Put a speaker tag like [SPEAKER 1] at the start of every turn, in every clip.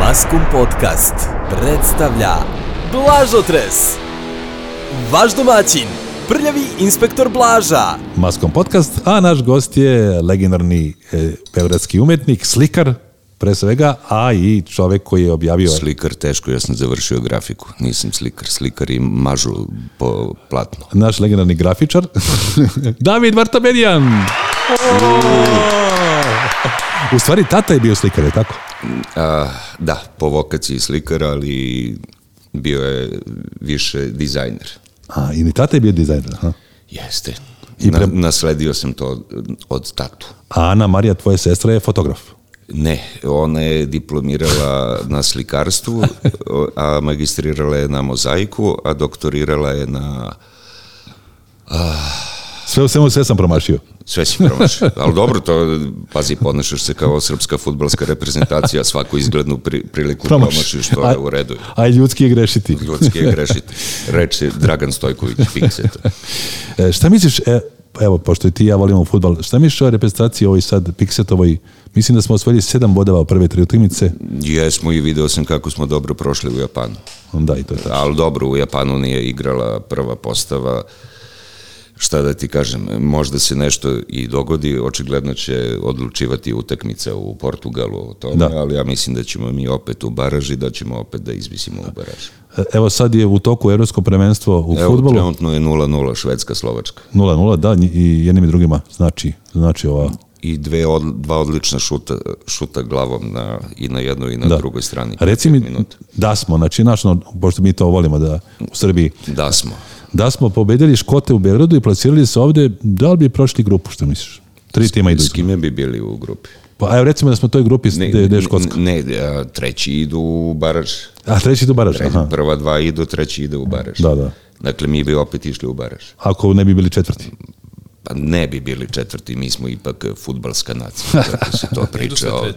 [SPEAKER 1] Maskum Podcast predstavlja Blažotres Vaš domaćin, prljavi inspektor Blaža
[SPEAKER 2] Maskom podcast, a naš gost je legendarni e, beogradski umetnik, slikar, pre svega, a i čovek koji je objavio...
[SPEAKER 3] Slikar teško, ja sam završio grafiku. Nisam slikar, slikari mažu po platno.
[SPEAKER 2] naš legendarni grafičar, David Vartamedijan. U stvari, tata je bio slikar, je tako?
[SPEAKER 3] A, da, po vokaciji slikar, ali bio je više dizajner.
[SPEAKER 2] A, i ni tata je bio dizajner. Aha.
[SPEAKER 3] Jeste.
[SPEAKER 2] I
[SPEAKER 3] Na,
[SPEAKER 2] pre-
[SPEAKER 3] nasledio sam to od, od tatu.
[SPEAKER 2] A Ana Marija, tvoja sestra, je fotograf.
[SPEAKER 3] Ne, ona je diplomirala na slikarstvu, a magistrirala je na mozaiku, a doktorirala je na...
[SPEAKER 2] Sve u svemu sve sam promašio.
[SPEAKER 3] Sve si promašio. Ali dobro, to, pazi, ponašaš se kao srpska futbalska reprezentacija, svaku izglednu pri, priliku
[SPEAKER 2] Promaš.
[SPEAKER 3] promašiš, to je u redu.
[SPEAKER 2] A, a ljudski je grešiti.
[SPEAKER 3] ljudski je grešiti. Reče Dragan Stojković Fikset.
[SPEAKER 2] E, šta misliš, e, evo, pošto i ti i ja volimo futbal, šta misliš o reprezentaciji ovoj sad, Piksetovoj? Mislim da smo osvojili sedam bodova u prve tri utakmice.
[SPEAKER 3] Jesmo i video sam kako smo dobro prošli u Japanu.
[SPEAKER 2] Da, i to je tako.
[SPEAKER 3] Ali dobro, u Japanu nije igrala prva postava. Šta da ti kažem, možda se nešto i dogodi, očigledno će odlučivati utakmica u Portugalu o tome,
[SPEAKER 2] Da.
[SPEAKER 3] ali ja mislim da ćemo mi opet u baraži, da ćemo opet da izvisimo u baraži.
[SPEAKER 2] E, Evo sad je u toku Evropsko prvenstvo u
[SPEAKER 3] Evo,
[SPEAKER 2] futbolu.
[SPEAKER 3] trenutno je 0-0 Švedska-Slovačka.
[SPEAKER 2] 0-0, da, nji- i jednim i drugima znači, znači ova...
[SPEAKER 3] I dve, od, dva odlična šuta, šuta glavom na, i na jednoj i na
[SPEAKER 2] Da.
[SPEAKER 3] drugoj strani.
[SPEAKER 2] Reci mi,
[SPEAKER 3] Minuta.
[SPEAKER 2] da smo, znači, naš, no, pošto mi to volimo da u Srbiji,
[SPEAKER 3] Da smo.
[SPEAKER 2] da smo pobedili Škote u Beogradu i plasirali se ovde, da li bi prošli grupu, što misliš? Tri tima idu.
[SPEAKER 3] S kime bi bili u grupi?
[SPEAKER 2] Pa evo recimo da smo u toj grupi
[SPEAKER 3] Ne,
[SPEAKER 2] gde gde je Škotska.
[SPEAKER 3] Ne, ne, a, treći idu u baraž.
[SPEAKER 2] A treći tu Baraž, aha.
[SPEAKER 3] Prva dva idu, treći ide u baraž.
[SPEAKER 2] Da, da.
[SPEAKER 3] Dakle, mi bi opet išli u baraž.
[SPEAKER 2] Ako ne bi bili četvrti.
[SPEAKER 3] Pa ne bi bili četvrti, mi smo ipak e, futbalska nacija, kako se to priča ovde.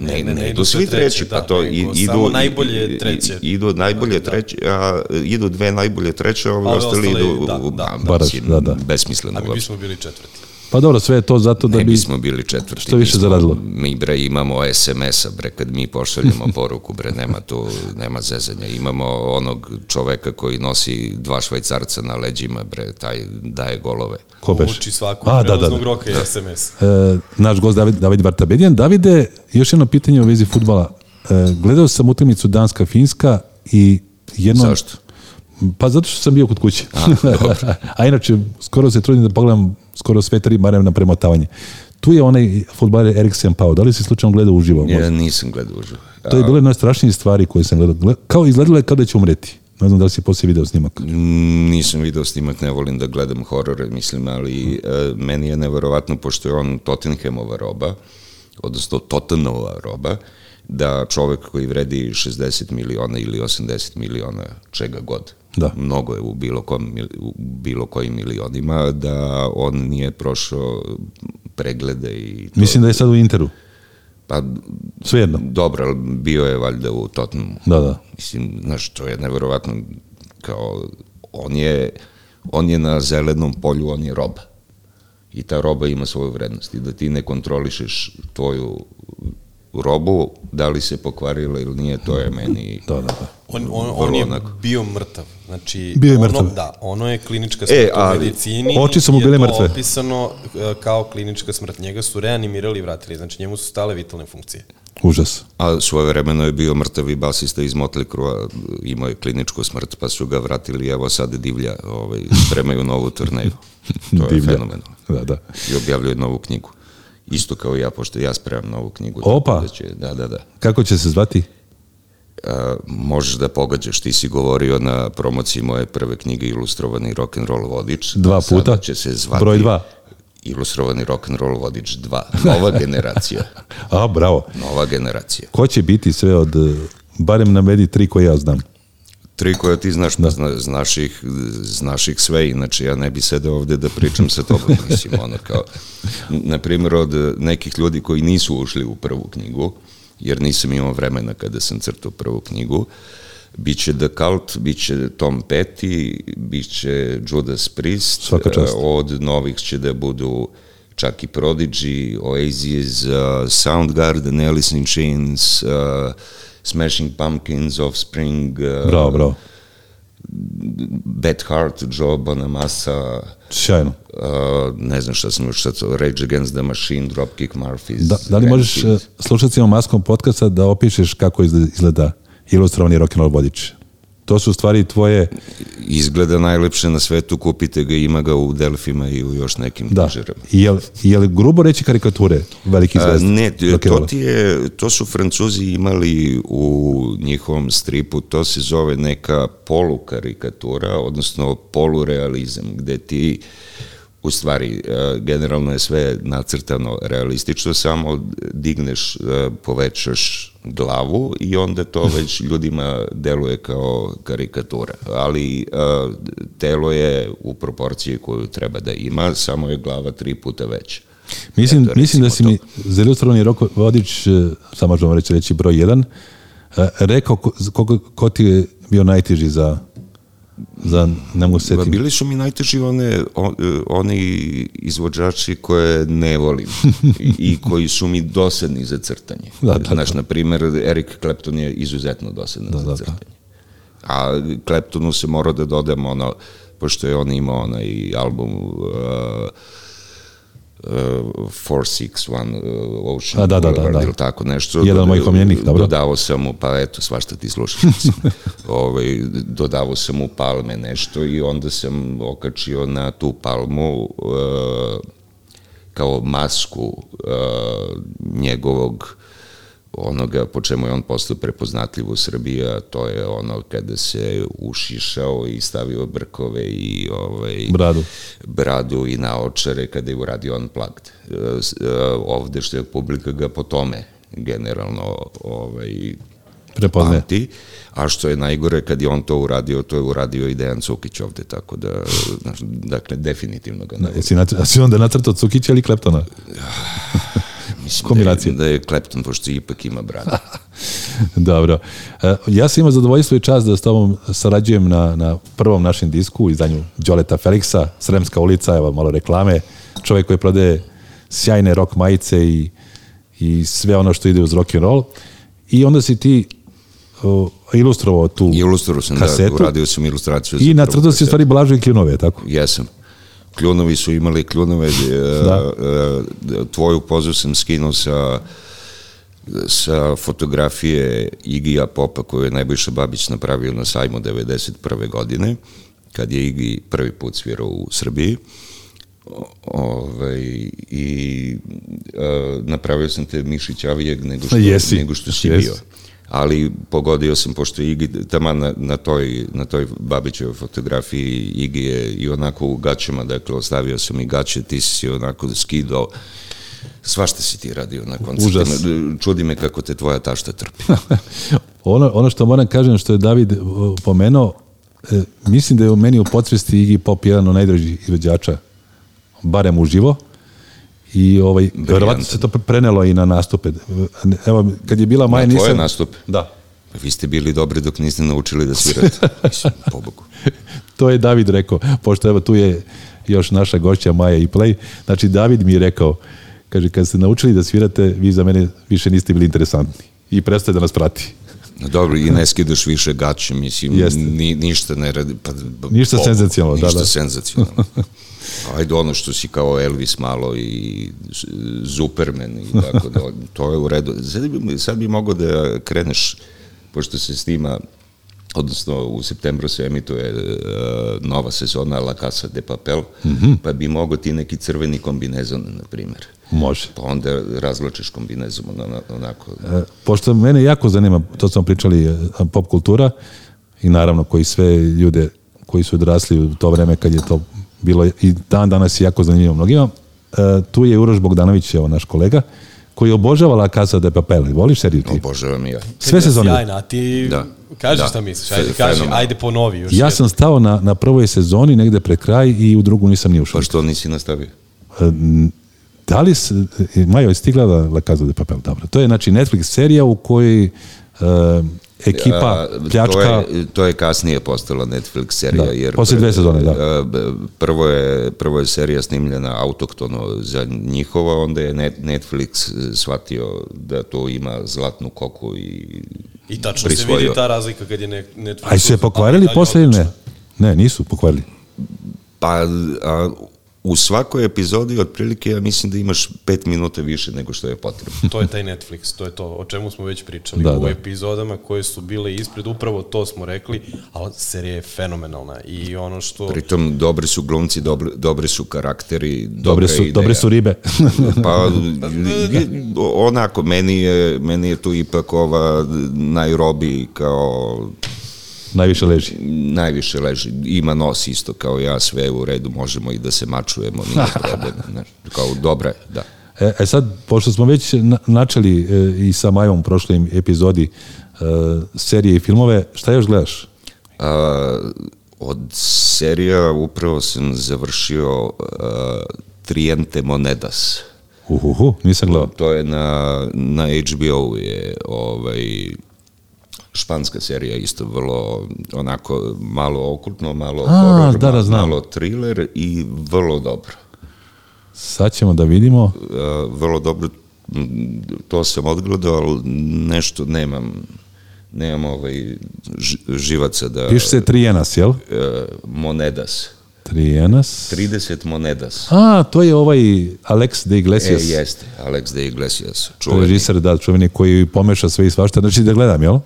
[SPEAKER 3] Ne, ne, ne, idu svi treći, pa
[SPEAKER 4] da,
[SPEAKER 3] to i,
[SPEAKER 4] nego
[SPEAKER 3] idu...
[SPEAKER 4] samo
[SPEAKER 3] i-
[SPEAKER 4] najbolje
[SPEAKER 3] i-
[SPEAKER 4] treće.
[SPEAKER 3] Idu najbolje treće, a e, idu dve najbolje treće, a ovi
[SPEAKER 4] A ove
[SPEAKER 3] ostali
[SPEAKER 4] ostale,
[SPEAKER 3] idu
[SPEAKER 4] da,
[SPEAKER 3] u
[SPEAKER 4] da.
[SPEAKER 2] Baraž,
[SPEAKER 3] baraž.
[SPEAKER 2] da, da.
[SPEAKER 3] Besmisleno
[SPEAKER 4] A mi
[SPEAKER 3] uopšte.
[SPEAKER 4] bismo bili četvrti.
[SPEAKER 2] Pa dobro, sve je to zato da
[SPEAKER 3] Ne
[SPEAKER 2] bi...
[SPEAKER 3] bismo bili četvrti.
[SPEAKER 2] Što više
[SPEAKER 3] mi smo-
[SPEAKER 2] zaradilo?
[SPEAKER 3] Mi bre imamo SMS-a bre kad mi pošaljemo poruku bre nema tu nema zezanja. Imamo onog čoveka koji nosi dva švajcarca na leđima bre taj daje golove.
[SPEAKER 2] Ko beš?
[SPEAKER 4] Uči svaku
[SPEAKER 2] A, da,
[SPEAKER 4] A,
[SPEAKER 2] da,
[SPEAKER 4] prelaznog
[SPEAKER 2] da.
[SPEAKER 4] roka i SMS.
[SPEAKER 2] E, naš gost David, David Bartabedijan. Davide, još jedno pitanje u vezi futbala. E, gledao sam utakmicu Danska-Finska i jedno...
[SPEAKER 3] Zašto?
[SPEAKER 2] Pa zato što sam bio kod kuće. A, inače, skoro se trudim da pogledam skoro sve tri, barem na premotavanje. Tu je onaj futbaler Eriksen pao. Da li si slučajno gledao uživo?
[SPEAKER 3] Ja nisam gledao uživo.
[SPEAKER 2] To je bilo jedna od strašnijih stvari koje sam gledao. Gle- Kao izgledalo je kao da će umreti. Ne znam da li si poslije video snimak.
[SPEAKER 3] Nisam video snimak, ne volim da gledam horore, mislim, ali e, meni je neverovatno, pošto je on Tottenhamova roba, odnosno Tottenova roba, da čovek koji vredi 60 miliona ili 80 miliona, čega god,
[SPEAKER 2] Da.
[SPEAKER 3] mnogo je u bilo, kom, mil- u bilo kojim milionima, da on nije prošao preglede i... To.
[SPEAKER 2] Mislim da je sad u Interu.
[SPEAKER 3] Pa
[SPEAKER 2] Svejedno.
[SPEAKER 3] dobro, ali bio je valjda u Tottenhamu.
[SPEAKER 2] Da, da.
[SPEAKER 3] Mislim, znaš, to je nevjerovatno, kao, on je, on je na zelenom polju, on je roba. I ta roba ima svoju vrednost. I da ti ne kontrolišeš tvoju robu, da li se pokvarila ili nije, to je meni...
[SPEAKER 2] Da, da, da.
[SPEAKER 4] On, on,
[SPEAKER 3] Vrlo
[SPEAKER 4] on je
[SPEAKER 3] onako.
[SPEAKER 4] bio mrtav. Znači,
[SPEAKER 2] Bio je
[SPEAKER 4] Ono,
[SPEAKER 2] mrtav.
[SPEAKER 4] da, ono je klinička smrt e,
[SPEAKER 3] ali-
[SPEAKER 4] u medicini.
[SPEAKER 2] Oči su mu
[SPEAKER 4] je
[SPEAKER 2] bile
[SPEAKER 4] to
[SPEAKER 2] mrtve.
[SPEAKER 4] opisano e, kao klinička smrt. Njega su reanimirali i vratili. Znači, njemu su stale vitalne funkcije.
[SPEAKER 2] Užas.
[SPEAKER 3] A svoje vremeno je bio mrtavi basista iz Motley Crue, imao je kliničku smrt, pa su ga vratili, evo sad divlja, ovaj, spremaju novu turneju. To je
[SPEAKER 2] Divlja.
[SPEAKER 3] fenomenalno.
[SPEAKER 2] Da, da.
[SPEAKER 3] i objavljuje novu knjigu. Isto kao ja, pošto ja spremam novu knjigu.
[SPEAKER 2] Opa!
[SPEAKER 3] tako Da, će, da, da, da.
[SPEAKER 2] Kako će se zvati?
[SPEAKER 3] A, možeš da pogađaš, ti si govorio na promociji moje prve knjige Ilustrovani rock'n'roll vodič.
[SPEAKER 2] Dva
[SPEAKER 3] Sada
[SPEAKER 2] puta.
[SPEAKER 3] će se zvati
[SPEAKER 2] Broj dva.
[SPEAKER 3] Ilustrovani rock'n'roll vodič 2. Nova generacija.
[SPEAKER 2] A, bravo.
[SPEAKER 3] Nova generacija.
[SPEAKER 2] Ko će biti sve od, eh, barem navedi tri koje ja znam.
[SPEAKER 3] Tri koje ti znaš, da. zna, znaš, ih, znaš ih sve, inače ja ne bi sedeo ovde da pričam sa tobom, mislim, ono kao, na primjer, od eh, nekih ljudi koji nisu ušli u prvu knjigu, jer nisam imao vremena kada sam crtao prvu knjigu, Biće The Cult, biće Tom Petty, biće Judas Priest,
[SPEAKER 2] Svaka
[SPEAKER 3] eh,
[SPEAKER 2] čast.
[SPEAKER 3] od novih će da budu čak i e, Prodigy, Oasis, uh, Soundgarden, Alice in Chains, uh, Smashing Pumpkins, Offspring, uh,
[SPEAKER 2] Bravo, bravo.
[SPEAKER 3] Bad Heart, Joe Bonamassa,
[SPEAKER 2] Sjajno.
[SPEAKER 3] uh, ne znam šta sam još sad, Rage Against the Machine, Dropkick Murphys.
[SPEAKER 2] Da, da li možeš
[SPEAKER 3] Rancid.
[SPEAKER 2] eh, slušalcima maskom podcasta da opišeš kako izgleda- izgleda ilustrovani rock'n'roll vodič? To su u stvari tvoje,
[SPEAKER 3] Izgleda najlepše na svetu, kupite ga, ima ga u Delfima i u još nekim
[SPEAKER 2] da,
[SPEAKER 3] knjižarama.
[SPEAKER 2] je li, je li grubo reći karikature velikih
[SPEAKER 3] A,
[SPEAKER 2] zvezda?
[SPEAKER 3] E, ne, to,
[SPEAKER 2] rock'n'rolla?
[SPEAKER 3] ti je, to su Francuzi imali u njihovom stripu, to se zove neka polukarikatura, odnosno polurealizam, gde ti u stvari e, generalno je sve nacrtano realistično, samo digneš, e, povećaš glavu i onda to već ljudima deluje kao karikatura. Ali e, telo je u proporciji koju treba da ima, samo je glava tri puta veća.
[SPEAKER 2] Mislim,
[SPEAKER 3] Eto,
[SPEAKER 2] mislim da si
[SPEAKER 3] recimo
[SPEAKER 2] mi za ilustrovani rok vodič, eh, sad možemo reći, reći broj jedan, eh, rekao ko, ko, ko ti je bio najteži za, za ne mogu se
[SPEAKER 3] Pa
[SPEAKER 2] setiti.
[SPEAKER 3] bili su mi najteži one, o- e, oni izvođači koje ne volim i, i koji su mi dosadni za crtanje.
[SPEAKER 2] Da, da,
[SPEAKER 3] Znaš, na primjer, Eric Clapton je izuzetno dosadan
[SPEAKER 2] da, da.
[SPEAKER 3] za crtanje. A Claptonu se mora da dodam ono, pošto je on imao onaj album uh, uh, 461 uh, Ocean
[SPEAKER 2] A, da, da, da,
[SPEAKER 3] Boulevard
[SPEAKER 2] da.
[SPEAKER 3] ili tako nešto.
[SPEAKER 2] Jedan od mojih omiljenih, dobro.
[SPEAKER 3] Dodavao sam mu, pa eto, svašta ti slušaš. ovaj, dodavao sam mu palme nešto i onda sam okačio na tu palmu uh, kao masku uh, njegovog onoga po čemu je on postao prepoznatljiv u Srbiji, a to je ono kada se ušišao i stavio brkove i ovaj,
[SPEAKER 2] Bradu.
[SPEAKER 3] bradu i naočare kada je uradio Unplugged. E, s- e, Ovde što je publika ga po tome generalno ovaj,
[SPEAKER 2] Prepoznaje.
[SPEAKER 3] pamti, a što je najgore kad je on to uradio, to je uradio i Dejan Cukić ovde, tako da, znaš, dakle, definitivno ga ne volim.
[SPEAKER 2] Jesi, nacr, a si onda nacrtao Cukića ili Kleptona?
[SPEAKER 3] Mislim
[SPEAKER 2] kombinacija.
[SPEAKER 3] Da je, da je Clapton, pošto ipak ima brada.
[SPEAKER 2] Dobro. E, Ja sam imao zadovoljstvo i čast da s tobom sarađujem na, na prvom našem disku u izdanju Đoleta Feliksa, Sremska ulica, evo malo reklame, čovjek koji prodaje sjajne rock majice i, i sve ono što ide uz rock and roll. I onda si ti o, ilustrovao tu
[SPEAKER 3] Ilustrovao sam,
[SPEAKER 2] kasetu
[SPEAKER 3] da, uradio sam ilustraciju. za
[SPEAKER 2] i
[SPEAKER 3] prvu
[SPEAKER 2] nacrtao si u
[SPEAKER 3] kasetu.
[SPEAKER 2] stvari Blažu i Klinove, tako?
[SPEAKER 3] Jesam. Kljunovi su imali kljunove.
[SPEAKER 2] Da.
[SPEAKER 3] da. Tvoju pozu sam skinuo sa sa fotografije Igija Popa koju je Nebojša Babić napravio na sajmu 91. godine kad je Igi prvi put svirao u Srbiji O- ovaj, i e, napravio sam te Mišić Avijeg nego što,
[SPEAKER 2] Jesi.
[SPEAKER 3] nego što si
[SPEAKER 2] Jesi.
[SPEAKER 3] bio ali pogodio sam pošto je Igi tamo na, na, toj, na toj Babićevoj fotografiji Igi je i onako u gaćama, dakle ostavio sam i gaće, ti si si onako skidao svašta si ti radio na koncertima.
[SPEAKER 2] Užas.
[SPEAKER 3] Čudi me kako te tvoja tašta trpi.
[SPEAKER 2] ono, ono što moram kažem što je David o, pomenuo, e, mislim da je u meni u podsvesti Iggy Pop jedan od najdražih izvođača, barem uživo. I ovaj, verovatno se to pre- prenelo i na nastupe. Evo, kad je bila Maja,
[SPEAKER 3] Na
[SPEAKER 2] nisam...
[SPEAKER 3] tvoje nastupe?
[SPEAKER 2] Da.
[SPEAKER 3] Vi ste bili dobri dok niste naučili da svirate. Mislim, pobogu.
[SPEAKER 2] To je David rekao, pošto evo tu je još naša gošća Maja i Play. Znači, David mi je rekao, kaže, kad ste naučili da svirate, vi za mene više niste bili interesantni. I prestaje da nas prati.
[SPEAKER 3] No dobro, i ne skidaš više gaće, mislim,
[SPEAKER 2] Jeste.
[SPEAKER 3] ni, ništa ne radi. Pa, pa,
[SPEAKER 2] Ništa senzacionalno, da,
[SPEAKER 3] ništa
[SPEAKER 2] da.
[SPEAKER 3] senzacionalno. Ajde ono što si kao Elvis malo i Z- Superman i tako da, to je u redu. Sad bi, sad bi mogo da kreneš, pošto se snima, odnosno u septembru se emituje e, nova sezona La Casa de Papel,
[SPEAKER 2] Mhm.
[SPEAKER 3] pa bi mogo ti neki crveni kombinezon, na primjer.
[SPEAKER 2] Može.
[SPEAKER 3] Pa onda razvlačeš kombinezon ona- onako.
[SPEAKER 2] E, pošto mene jako zanima, to smo pričali, e, pop kultura i naravno koji sve ljude koji su odrasli u to vreme kad je to bilo i dan danas je jako zanimljivo mnogima. E, tu je Uroš Bogdanović, evo naš kolega, koji obožava La Casa de Papel. Voliš seriju ti?
[SPEAKER 3] Obožavam i ja.
[SPEAKER 2] Sve sezone.
[SPEAKER 4] Sjajna, a ti
[SPEAKER 3] Da.
[SPEAKER 4] da. kažeš
[SPEAKER 3] Da.
[SPEAKER 4] da. šta misliš, ajde,
[SPEAKER 3] Fe-
[SPEAKER 4] kaži,
[SPEAKER 3] fenomenalno.
[SPEAKER 4] ajde ponovi još.
[SPEAKER 2] Ja
[SPEAKER 4] jednom.
[SPEAKER 2] sam stao na, na prvoj sezoni negde pre kraj i u drugu nisam ni ušao.
[SPEAKER 3] Pa što nisi nastavio?
[SPEAKER 2] E, n- Da li se, e, Majo, je stigla La, La Casa de Papel? Dobro. To je znači Netflix serija u kojoj e, ekipa,
[SPEAKER 3] A,
[SPEAKER 2] pljačka,
[SPEAKER 3] To je, to je kasnije postala Netflix serija.
[SPEAKER 2] Da,
[SPEAKER 3] Jer
[SPEAKER 2] poslije dve sezone, da.
[SPEAKER 3] a, b- Prvo je, prvo je serija snimljena autoktono za njihova, onda je Net- Netflix shvatio da to ima zlatnu koku i
[SPEAKER 4] I tačno
[SPEAKER 3] prisvojio.
[SPEAKER 4] se vidi ta razlika kad je ne, Netflix...
[SPEAKER 2] a se pokvarili
[SPEAKER 4] ali
[SPEAKER 2] posle ili ne?
[SPEAKER 4] odlično.
[SPEAKER 2] Ne, nisu pokvarili.
[SPEAKER 3] Pa a, u svakoj epizodi otprilike ja mislim da imaš pet minuta više nego što je potrebno.
[SPEAKER 4] To je taj Netflix, to je to o čemu smo već pričali
[SPEAKER 2] Da,
[SPEAKER 4] da, u
[SPEAKER 2] da.
[SPEAKER 4] epizodama koje su bile ispred, upravo to smo rekli, ali serija je fenomenalna i ono što...
[SPEAKER 3] Pritom dobri su glumci, dobri, dobri su karakteri,
[SPEAKER 2] Dobre
[SPEAKER 3] dobre
[SPEAKER 2] su, dobre su ribe.
[SPEAKER 3] Pa, onako, meni je, meni je tu ipak ova Nairobi kao
[SPEAKER 2] Najviše leži.
[SPEAKER 3] najviše leži. Ima nos isto kao ja, sve u redu, možemo i da se mačujemo, nije problem. znaš. Kao dobra je, da.
[SPEAKER 2] E, e sad, pošto smo već na, načeli e, i sa Majom u prošloj epizodi e, serije i filmove, šta još gledaš?
[SPEAKER 3] A, od serija upravo sam završio a, Triente Monedas.
[SPEAKER 2] Uhuhu, nisam gledao.
[SPEAKER 3] To je na, na HBO je ovaj, španska serija isto vrlo onako malo okultno, malo
[SPEAKER 2] A,
[SPEAKER 3] horor,
[SPEAKER 2] da, da, znam.
[SPEAKER 3] malo thriller i vrlo dobro.
[SPEAKER 2] Sad ćemo da vidimo.
[SPEAKER 3] E, vrlo dobro m, to sam odgledao, ali nešto nemam nemam ovaj ž- živaca da
[SPEAKER 2] Piše se Trijenas, jel?
[SPEAKER 3] e, monedas.
[SPEAKER 2] Trijenas.
[SPEAKER 3] 30 monedas.
[SPEAKER 2] A, to je ovaj Alex de Iglesias.
[SPEAKER 3] E, jeste, Alex de Iglesias. Čuveni.
[SPEAKER 2] režiser, da, čuveni koji pomeša sve i svašta, znači da gledam, jel?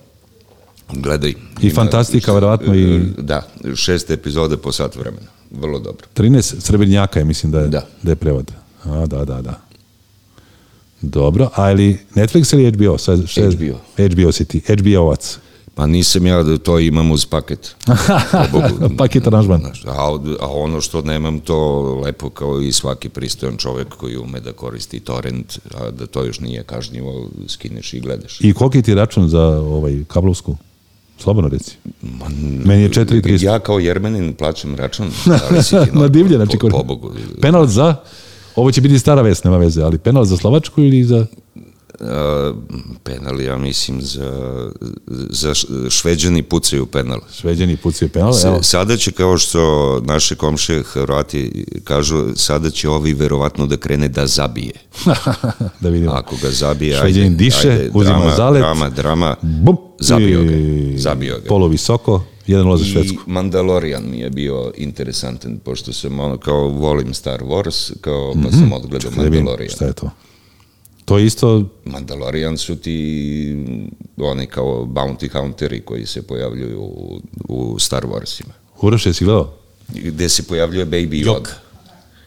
[SPEAKER 3] Gledaj. E,
[SPEAKER 2] I fantastika, verovatno, i-
[SPEAKER 3] Da, šest epizode po sat vremena. Vrlo dobro.
[SPEAKER 2] 13 srebrnjaka je, mislim da je, da.
[SPEAKER 3] Da.
[SPEAKER 2] da je prevod. A, da, da, da. Dobro, ali Netflix ili HBO? Sad, šta je-
[SPEAKER 3] HBO.
[SPEAKER 2] HBO si ti, HBO-ovac.
[SPEAKER 3] Pa nisam ja da to imam uz paket. Bogu.
[SPEAKER 2] Paket aranžman.
[SPEAKER 3] Znaš, A, od- a ono što nemam to lepo kao i svaki pristojan čovjek koji ume da koristi torrent, a da to još nije kažnjivo, skineš i gledaš.
[SPEAKER 2] I koliki ti je račun za ovaj, kablovsku? Slobodno reci. Meni je 4.300.
[SPEAKER 3] Dakle, Ja kao jermenin plaćam račun. Da li si ti
[SPEAKER 2] Na
[SPEAKER 3] normalan?
[SPEAKER 2] divlje, znači,
[SPEAKER 3] po,
[SPEAKER 2] kor-
[SPEAKER 3] po Bogu.
[SPEAKER 2] Penal za, ovo će biti stara vest, nema veze, ali penal za Slovačku ili za...
[SPEAKER 3] A, penal, E, ja mislim, za, za š- šveđani pucaju penal.
[SPEAKER 2] Šveđani pucaju penal,
[SPEAKER 3] S-
[SPEAKER 2] Pa evo.
[SPEAKER 3] Sada će, kao što naše komšije Hrvati kažu, sada će ovi verovatno da krene da zabije.
[SPEAKER 2] da vidimo.
[SPEAKER 3] Ako ga zabije,
[SPEAKER 2] Šveđanin diše, uzima
[SPEAKER 3] drama,
[SPEAKER 2] zalet.
[SPEAKER 3] Drama, drama,
[SPEAKER 2] Bum,
[SPEAKER 3] zabio ga.
[SPEAKER 2] i-
[SPEAKER 3] Zabio ga.
[SPEAKER 2] Polo visoko, jedan loza
[SPEAKER 3] I
[SPEAKER 2] Švedsku.
[SPEAKER 3] Mandalorian mi je bio interesantan, pošto sam ono kao volim Star Wars, kao pa sam odgledao
[SPEAKER 2] Mhm. Da vidim
[SPEAKER 3] Mandalorian.
[SPEAKER 2] šta je to. To je isto,
[SPEAKER 3] Mandalorian su ti oni kao bounty hunteri koji se pojavljuju u, u Star Warsima.
[SPEAKER 2] Uroše, si gledao?
[SPEAKER 3] Gde se pojavljuje Baby
[SPEAKER 4] Jok.
[SPEAKER 3] Yoda.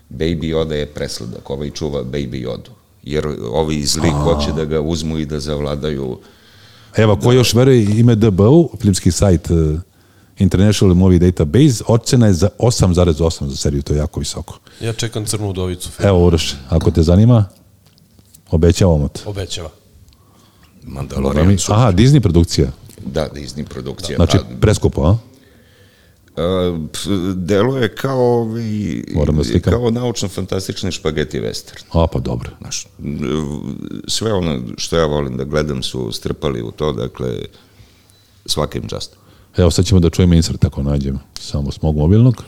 [SPEAKER 3] Baby Yoda je presladak, ovaj čuva Baby Yodu. Jer ovi iz lik hoće da ga uzmu i da zavladaju.
[SPEAKER 2] Evo, ko još veruje ime DBU, filmski sajt eh, International Movie Database, ocena je za 8,8 za seriju, to je jako visoko.
[SPEAKER 4] Ja čekam crnu udovicu,
[SPEAKER 2] Evo, Uroš, ako te zanima, obećavamo te.
[SPEAKER 4] obećava.
[SPEAKER 3] Mandalorian su,
[SPEAKER 2] Aha, Disney produkcija.
[SPEAKER 3] da, Disney produkcija.
[SPEAKER 2] Znači,
[SPEAKER 3] Pa,
[SPEAKER 2] preskupo, a?
[SPEAKER 3] A, p- delo je kao ovi,
[SPEAKER 2] Moram da slikam.
[SPEAKER 3] kao naučno-fantastični špageti western.
[SPEAKER 2] A, pa dobro.
[SPEAKER 3] Znaš, sve ono što ja volim da gledam su strpali u to, dakle, svakim čast.
[SPEAKER 2] Evo, sad ćemo da čujemo insert, ako nađem. Samo s mog mobilnog.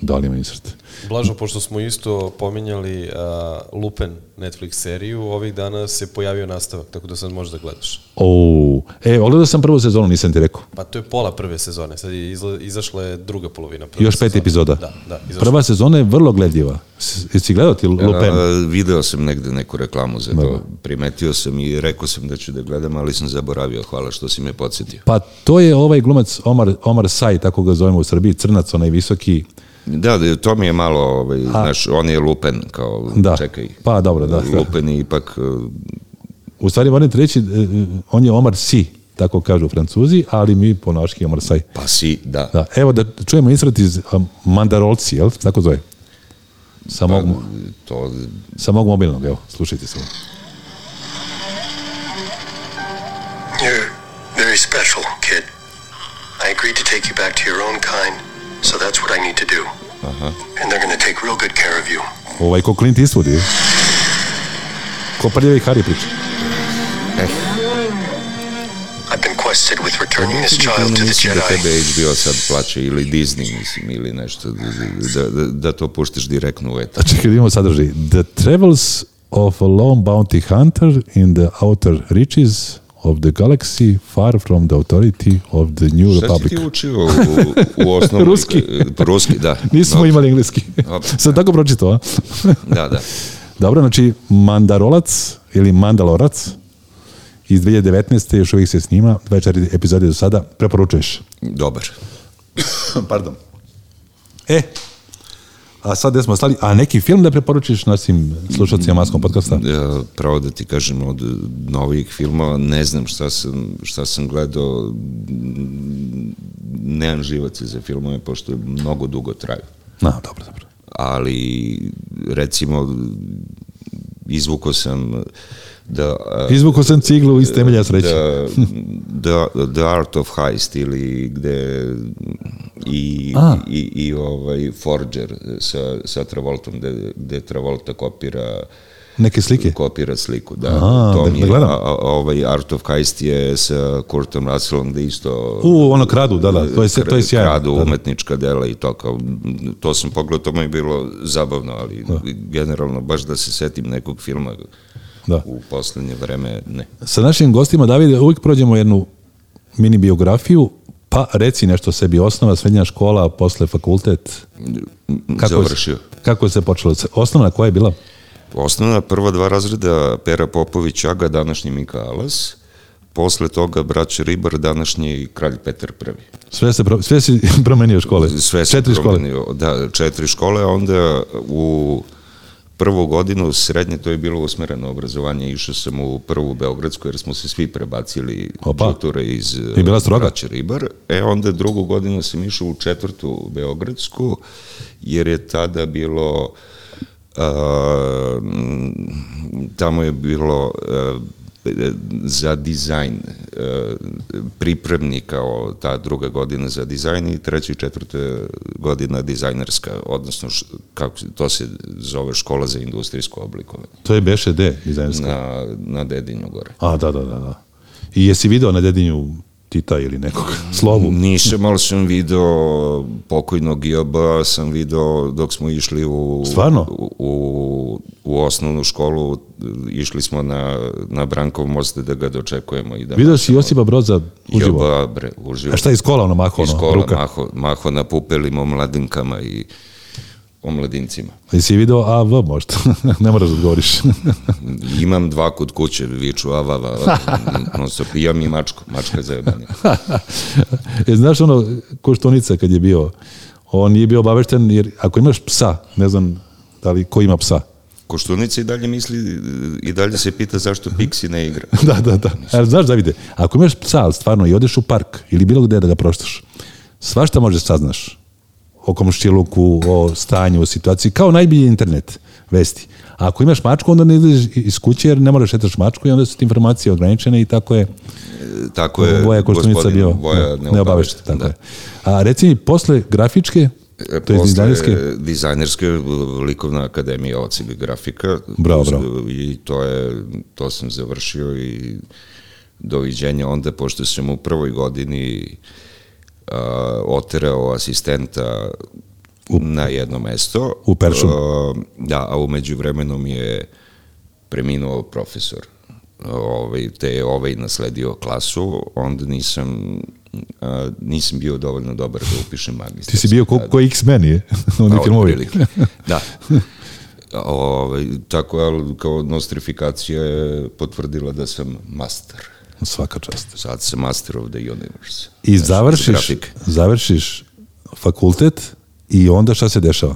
[SPEAKER 2] Da li ima insert?
[SPEAKER 4] Blažo, pošto smo isto pominjali a, Lupen Netflix seriju, ovih dana se pojavio nastavak, tako da sad možeš da gledaš.
[SPEAKER 2] O, e, ogledao sam prvu sezonu, nisam ti rekao.
[SPEAKER 4] Pa to je pola prve sezone, sad je izla, izašla je druga polovina prve
[SPEAKER 2] Još pet
[SPEAKER 4] sezone.
[SPEAKER 2] epizoda.
[SPEAKER 4] Da, da, izašla.
[SPEAKER 2] Prva sezona je vrlo gledljiva. S- Jesi gledao ti Lupin?
[SPEAKER 4] E,
[SPEAKER 3] A, video sam negde neku reklamu za to, primetio sam i rekao sam da ću da gledam, ali sam zaboravio, hvala što si me podsjetio.
[SPEAKER 2] Pa to je ovaj glumac Omar, Omar Saj, tako ga zovemo u Srbiji, crnac, onaj visoki.
[SPEAKER 3] Da, da, to mi je malo, ovaj, znaš, on je lupen, kao,
[SPEAKER 2] Da.
[SPEAKER 3] čekaj.
[SPEAKER 2] Pa dobro, da.
[SPEAKER 3] Lupen je ipak e,
[SPEAKER 2] U stvari moram ti reći, e, on je Omar Si, tako kažu francuzi, ali mi po naški Omar Saj.
[SPEAKER 3] pa si, da.
[SPEAKER 2] Da, evo da čujemo insert iz um, Mandarolci, jel? Tako zove. Sa mog, mo-
[SPEAKER 3] Pa, To,
[SPEAKER 2] sa mog mobilnog, evo, slušajte samo.
[SPEAKER 5] You're very special, kid. I agreed to take you back to your own kind, so that's what I need to do. And they're going to take real good care of you.
[SPEAKER 2] Ovaj, ko Clint Eastwood je. Ko prljavi Harry priča.
[SPEAKER 5] I've been requested with returning this
[SPEAKER 3] Mislim
[SPEAKER 5] child to the
[SPEAKER 3] da tebe
[SPEAKER 5] Jedi.
[SPEAKER 3] HBO sad plaća ili Disney, mislim, ili nešto, da, da, da to puštiš direktno u etar.
[SPEAKER 2] A čekaj, da imamo sadržaj. The travels of a lone bounty hunter in the outer reaches of the galaxy far from the authority of the new
[SPEAKER 3] Šta si
[SPEAKER 2] republic.
[SPEAKER 3] ti učio u, u osnovu?
[SPEAKER 2] Ruski.
[SPEAKER 3] Ruski, da.
[SPEAKER 2] Nismo
[SPEAKER 3] No,
[SPEAKER 2] imali engleski.
[SPEAKER 3] Dobro.
[SPEAKER 2] Sam tako pročitao, a?
[SPEAKER 3] Da, da.
[SPEAKER 2] Dobro, znači Mandarolac ili Mandalorac iz 2019. još uvijek se snima, 24 epizode do sada, preporučuješ.
[SPEAKER 3] Dobar.
[SPEAKER 2] Pardon. E, a sad gde smo stali, a neki film da preporučiš našim slušalcima Maskom podcasta?
[SPEAKER 3] Ja, e, pravo da ti kažem, od novih filmova ne znam šta sam, šta sam gledao, m, nemam živaca za filmove, pošto mnogo dugo traju.
[SPEAKER 2] Na, dobro, dobro.
[SPEAKER 3] Ali, recimo, izvuko sam da... a,
[SPEAKER 2] Izvukao sam ciglu iz temelja sreće.
[SPEAKER 3] Da, the, the Art of Heist ili gde i,
[SPEAKER 2] A.
[SPEAKER 3] i, i ovaj Forger sa, sa Travoltom gde, gde Travolta kopira
[SPEAKER 2] Neke slike.
[SPEAKER 3] kopira sliku da,
[SPEAKER 2] Aha,
[SPEAKER 3] to
[SPEAKER 2] da-
[SPEAKER 3] mi
[SPEAKER 2] da
[SPEAKER 3] je,
[SPEAKER 2] gledam.
[SPEAKER 3] a, a, ovaj Art of Heist je sa Kurtom Russellom gde isto
[SPEAKER 2] U, ono kradu, da, da, to je, to je sjajno.
[SPEAKER 3] kradu
[SPEAKER 2] Da, da.
[SPEAKER 3] umetnička dela i to kao, m, to sam pogledao, to mi je bilo zabavno, ali generalno baš da se setim nekog filma
[SPEAKER 2] Da.
[SPEAKER 3] u poslednje vreme, ne.
[SPEAKER 2] Sa našim gostima, Davide, uvijek prođemo jednu mini biografiju, pa reci nešto o sebi, osnova, srednja škola, posle fakultet.
[SPEAKER 3] Kako
[SPEAKER 2] je-
[SPEAKER 3] Završio.
[SPEAKER 2] kako je se počelo? Osnovna koja je bila?
[SPEAKER 3] Osnovna prva dva razreda Pera Popović Aga, današnji Mika Alas, posle toga braća Ribar, današnji kralj Petar Prvi.
[SPEAKER 2] Sve, se pro, sve si promenio škole.
[SPEAKER 3] Sve sam
[SPEAKER 2] Četiri škole.
[SPEAKER 3] promenio, Da, četiri škole, a onda u prvu godinu srednje to je bilo usmereno obrazovanje, išao sam u prvu Beogradsku jer smo se svi prebacili
[SPEAKER 2] Opa.
[SPEAKER 3] kulture iz
[SPEAKER 2] I bila stroga.
[SPEAKER 3] Braće Ribar. E onda drugu godinu sam išao u četvrtu Beogradsku jer je tada bilo a, m, tamo je bilo a, za dizajn a, pripremni kao ta druga godina za dizajn i treća i četvrta godina dizajnerska, odnosno š- kako se- to se zove škola za industrijsko oblikovanje
[SPEAKER 2] To je beše D dizajnerska.
[SPEAKER 3] na, na Dedinju gore.
[SPEAKER 2] A, da, da, da, da. I jesi video na dedinju Tita ili nekog slovu?
[SPEAKER 3] Nisam, ali sam video pokojnog Gioba, sam video dok smo išli u...
[SPEAKER 2] Stvarno?
[SPEAKER 3] U, u, u osnovnu školu, išli smo na, na Brankov most da ga dočekujemo. I da
[SPEAKER 2] Video si Josipa Broza uživo.
[SPEAKER 3] Gioba, bre, uživo.
[SPEAKER 2] A šta je iz kola ono maho,
[SPEAKER 3] Iz
[SPEAKER 2] ono,
[SPEAKER 3] kola,
[SPEAKER 2] ruka?
[SPEAKER 3] maho, maho na pupelima, o mladinkama i o mladincima.
[SPEAKER 2] Jesi video AV možda? ne moraš da odgovoriš.
[SPEAKER 3] Imam dva kod kuće, viču avava, non stop, i ja mi mačku, mačka je zajebana.
[SPEAKER 2] e, znaš ono, koštunica kad je bio, on nije bio obavešten, jer ako imaš psa, ne znam da li, ko ima psa?
[SPEAKER 3] Koštunica i dalje misli, i dalje se pita zašto Pixi ne igra.
[SPEAKER 2] da, da, da. Ali znaš, Davide, ako imaš psa, ali stvarno, i odeš u park ili bilo gde da ga proštaš, svašta možeš saznaš o komštiluku, o stanju, o situaciji, kao najbolji internet vesti. A ako imaš mačku, onda ne ideš iz kuće jer ne moraš šetaš mačku i onda su ti informacije ograničene i tako je
[SPEAKER 3] Tako je
[SPEAKER 2] Voja Koštunica
[SPEAKER 3] gospodin
[SPEAKER 2] bio
[SPEAKER 3] Voja
[SPEAKER 2] neobavešten. Tako
[SPEAKER 3] da.
[SPEAKER 2] je. A reci mi, posle grafičke,
[SPEAKER 3] E,
[SPEAKER 2] to je
[SPEAKER 3] posle
[SPEAKER 2] dizajnerske,
[SPEAKER 3] dizajnerske, e, likovna akademija ocili grafika.
[SPEAKER 2] Bravo, bravo.
[SPEAKER 3] I to, je, to sam završio i doviđenja onda, pošto sam u prvoj godini a, oterao asistenta na jedno mesto.
[SPEAKER 2] U Peršum.
[SPEAKER 3] A, da, a umeđu vremenu mi je preminuo profesor. Ovaj, te je ovaj nasledio klasu, onda nisam a, nisam bio dovoljno dobar da upišem magistra.
[SPEAKER 2] ti si bio ko, ko X-Men je, oni
[SPEAKER 3] Pa,
[SPEAKER 2] filmovi.
[SPEAKER 3] otprilike. da. Ove, tako, ali kao nostrifikacija je potvrdila da sam master.
[SPEAKER 2] Svaka čast.
[SPEAKER 3] Sad sam master of the universe.
[SPEAKER 2] I
[SPEAKER 3] Znaš, iz
[SPEAKER 2] završiš,
[SPEAKER 3] Znači, grafike.
[SPEAKER 2] završiš fakultet i onda šta se dešava?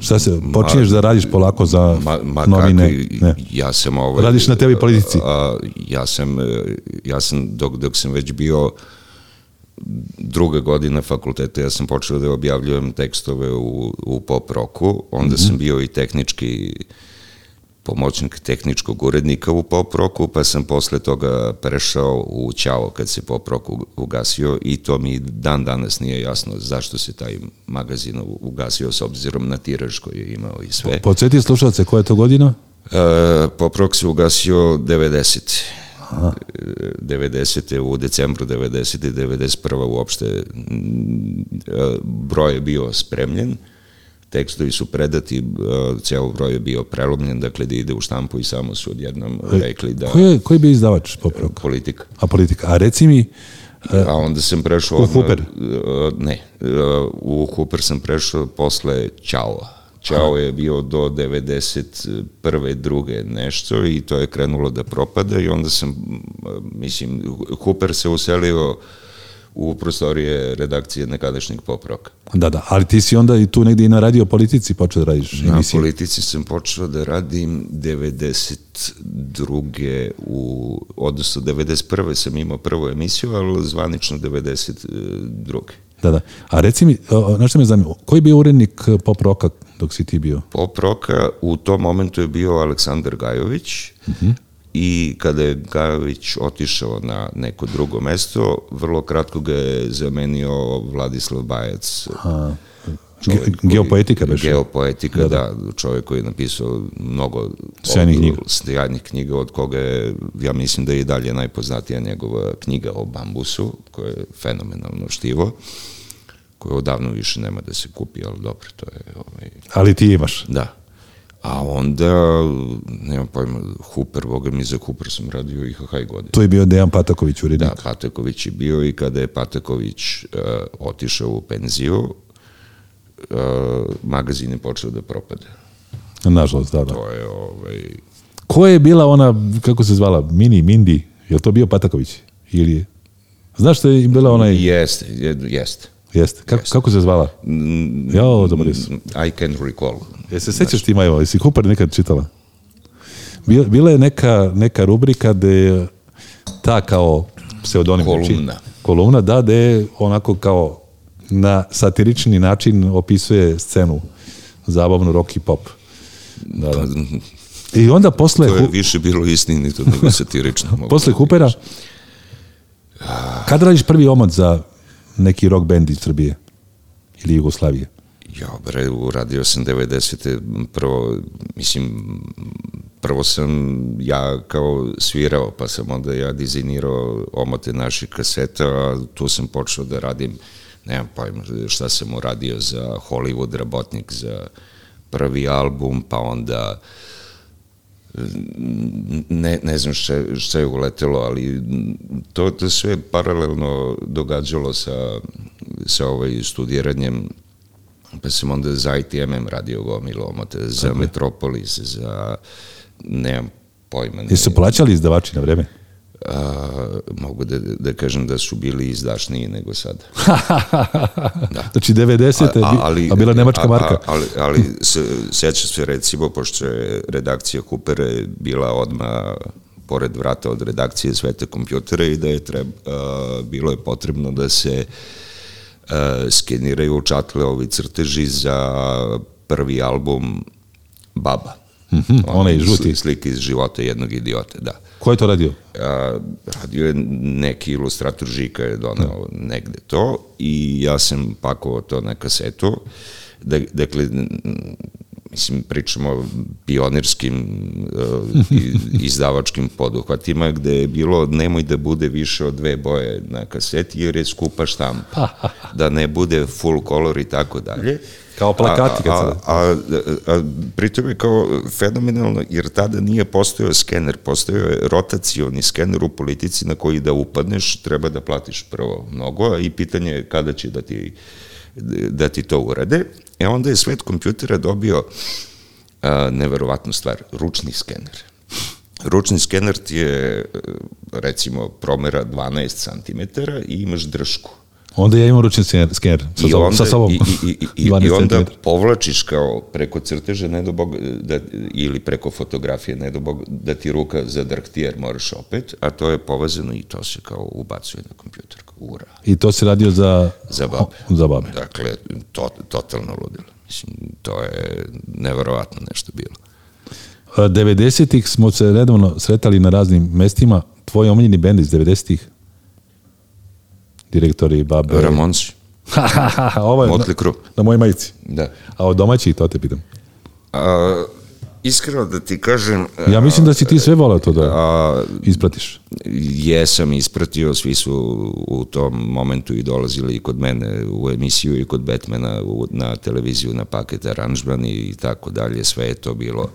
[SPEAKER 2] Šta se, počinješ da radiš polako za
[SPEAKER 3] Ma, ma
[SPEAKER 2] novine?
[SPEAKER 3] kako,
[SPEAKER 2] ne.
[SPEAKER 3] ja sam ovaj,
[SPEAKER 2] Radiš na TV politici?
[SPEAKER 3] A, ja sam, e, ja sam dok, dok sam već bio druga godina fakulteta, ja sam počeo da objavljujem tekstove u, u pop roku, onda mm
[SPEAKER 2] Mhm.
[SPEAKER 3] -hmm. sam bio i tehnički pomoćnik tehničkog urednika u pop roku, pa sam posle toga prešao u Ćao kad se pop rock u- ugasio i to mi dan danas nije jasno zašto se taj magazin u- ugasio s obzirom na tiraž koji je imao i sve.
[SPEAKER 2] Podsjeti slušalce, koja je to godina?
[SPEAKER 3] E, Pop Rock se ugasio 90. 90. u decembru 90. i 91. uopšte m, e, broj je bio spremljen, tekstovi su predati, e, ceo broj je bio prelomljen, dakle da ide u štampu i samo su odjednom rekli da
[SPEAKER 2] Ko je, koji bi izdavač popravka?
[SPEAKER 3] politika.
[SPEAKER 2] A politika. A reci mi,
[SPEAKER 3] A onda sam prešao...
[SPEAKER 2] E. U
[SPEAKER 3] odmah-
[SPEAKER 2] Hooper?
[SPEAKER 3] e, Ne, e, u Hooper sam prešao posle Ćao. Ćao je bio do 91. druge nešto i to je krenulo da propada i onda sam, e, mislim, Hooper se uselio u prostorije redakcije nekadašnjeg poproka.
[SPEAKER 2] da, da, ali ti si onda i tu negdje i na radio politici počeo da radiš
[SPEAKER 3] Na
[SPEAKER 2] emisije.
[SPEAKER 3] politici sam počeo da radim 92. u, odnosno 91. sam imao prvu emisiju, ali zvanično 92.
[SPEAKER 2] Da, da. A reci mi, o, o, znaš što me zanima, koji je bio urednik e, pop roka dok si ti bio?
[SPEAKER 3] Pop roka u tom momentu je bio Aleksandar Gajović
[SPEAKER 2] Mhm.
[SPEAKER 3] i kada je Gajović otišao na neko drugo mesto, vrlo kratko ga je zamenio Vladislav Bajac.
[SPEAKER 2] A,
[SPEAKER 3] čovjek
[SPEAKER 2] ge-
[SPEAKER 3] koji-
[SPEAKER 2] geopoetika baš.
[SPEAKER 3] Geopoetika, da, čovjek koji je napisao mnogo
[SPEAKER 2] Sjajnih
[SPEAKER 3] od-
[SPEAKER 2] knjiga.
[SPEAKER 3] sjajnih knjiga, od koga je, ja mislim da je i dalje najpoznatija njegova knjiga o bambusu, koja je fenomenalno štivo, koje odavno više nema da se kupi, ali dobro, to je ovaj,
[SPEAKER 2] Ali ti imaš.
[SPEAKER 3] da. A onda, nemam pojma, Hooper, boga mi za Hooper sam radio i hahaj godine.
[SPEAKER 2] To je bio Dejan Pataković urednik.
[SPEAKER 3] Da, Pataković je bio i kada je Pataković uh, otišao u penziju, uh, magazin je počeo da propada.
[SPEAKER 2] Nažalost, da, da.
[SPEAKER 3] To je, ovaj,
[SPEAKER 2] Ko je bila ona, kako se zvala, Mini, Mindi? Je to bio Pataković? Ili je? Znaš što je bila ona?
[SPEAKER 3] jeste, je- jeste.
[SPEAKER 2] Jeste. Kako, kako se zvala? Jao, dobro su.
[SPEAKER 3] I can recall.
[SPEAKER 2] Jesi E, se sećaš ti, Majo? Jesi Hooper nekad čitala? Bila, bila je neka, neka rubrika gde je ta kao pseudonim. znači,
[SPEAKER 3] Kolumna.
[SPEAKER 2] kolumna, da, gde je onako kao na satirični način opisuje scenu. Zabavnu rock i pop. Da, da. I onda posle...
[SPEAKER 3] Pa, To je
[SPEAKER 2] Hu-
[SPEAKER 3] više bilo istinito nego satirično. mogu
[SPEAKER 2] Posle
[SPEAKER 3] da
[SPEAKER 2] Hoopera,
[SPEAKER 3] kažem.
[SPEAKER 2] kad radiš prvi omot za neki rock band iz Srbije ili Jugoslavije?
[SPEAKER 3] Ja, bre, uradio sam 90. Prvo, mislim, prvo sam ja kao svirao, pa sam onda ja dizajnirao omote naših kaseta, a tu sam počeo da radim, nemam pojma šta sam uradio za Hollywood rabotnik, za prvi album, pa onda ne, ne znam šta, je- šta je uletelo, ali to, to sve je paralelno događalo sa, sa ovaj studiranjem pa sam onda za ITMM radio gomilu omote, za Metropolis, za, nemam pojma. ne-
[SPEAKER 2] Jesu plaćali izdavači na vreme?
[SPEAKER 3] a, mogu da, da kažem da su bili izdašniji nego sada.
[SPEAKER 2] Znači 90. A, ali, a bila nemačka
[SPEAKER 3] a- a-
[SPEAKER 2] marka.
[SPEAKER 3] ali, ali se, sećam se recimo, pošto je redakcija Kupera je bila odma pored vrata od redakcije Svete kompjutera i da je treb, a, bilo je potrebno da se a, skeniraju čatle ovi crteži za prvi album Baba. Mm-hmm,
[SPEAKER 2] Mhm, onaj žuti.
[SPEAKER 3] Slike iz života jednog idiota, da.
[SPEAKER 2] Ko je to radio?
[SPEAKER 3] a, radio je neki ilustrator Žika je donao negde to i ja sam pakovao to na kasetu. Da, dakle, m, mislim, pričamo o pionirskim e, i- izdavačkim poduhvatima gde je bilo nemoj da bude više od dve boje na kaseti jer je skupa štampa. Da ne bude full color i tako dalje.
[SPEAKER 2] Kao plakati kad
[SPEAKER 3] A,
[SPEAKER 2] se
[SPEAKER 3] a, a, a, a pritom je kao fenomenalno, jer tada nije postojao skener, postojao je rotacioni skener u politici na koji da upadneš, treba da platiš prvo mnogo a i pitanje je kada će da ti, da ti to urade. E onda je svet kompjutera dobio a, neverovatnu stvar, ručni skener. Ručni skener ti je, e, recimo, promera 12 cm i imaš dršku.
[SPEAKER 2] Onda ja imam ručni skener, skener sa,
[SPEAKER 3] I
[SPEAKER 2] sobom-
[SPEAKER 3] onda,
[SPEAKER 2] sa sobom.
[SPEAKER 3] I, i, i, i,
[SPEAKER 2] 12
[SPEAKER 3] i onda
[SPEAKER 2] centimetara.
[SPEAKER 3] povlačiš kao preko crteža, ne do Boga, da, ili preko fotografije, ne do Boga, da ti ruka zadrhti jer moraš opet, a to je povezano i to se kao ubacuje na kompjuter. kao Ura.
[SPEAKER 2] I to si radio za,
[SPEAKER 3] Za babe.
[SPEAKER 2] za babe.
[SPEAKER 3] Dakle, to, totalno ludilo. Mislim, to je neverovatno nešto bilo.
[SPEAKER 2] A, 90-ih E, smo se redovno sretali na raznim mestima. Tvoj omiljeni bend iz 90-ih? Direktori, babe.
[SPEAKER 3] Ramonsi,
[SPEAKER 2] Ovo je na,
[SPEAKER 3] Motley Crue,
[SPEAKER 2] na mojoj majici.
[SPEAKER 3] da.
[SPEAKER 2] A od domaćih to te pitam.
[SPEAKER 3] A, Iskreno da ti kažem...
[SPEAKER 2] Ja mislim da si ti sve volao to da
[SPEAKER 3] E, a,
[SPEAKER 2] ispratiš.
[SPEAKER 3] jesam ispratio, svi su u tom momentu i dolazili i kod mene u emisiju i kod Batmana u, na televiziju na paket aranžban i tako dalje, sve je to bilo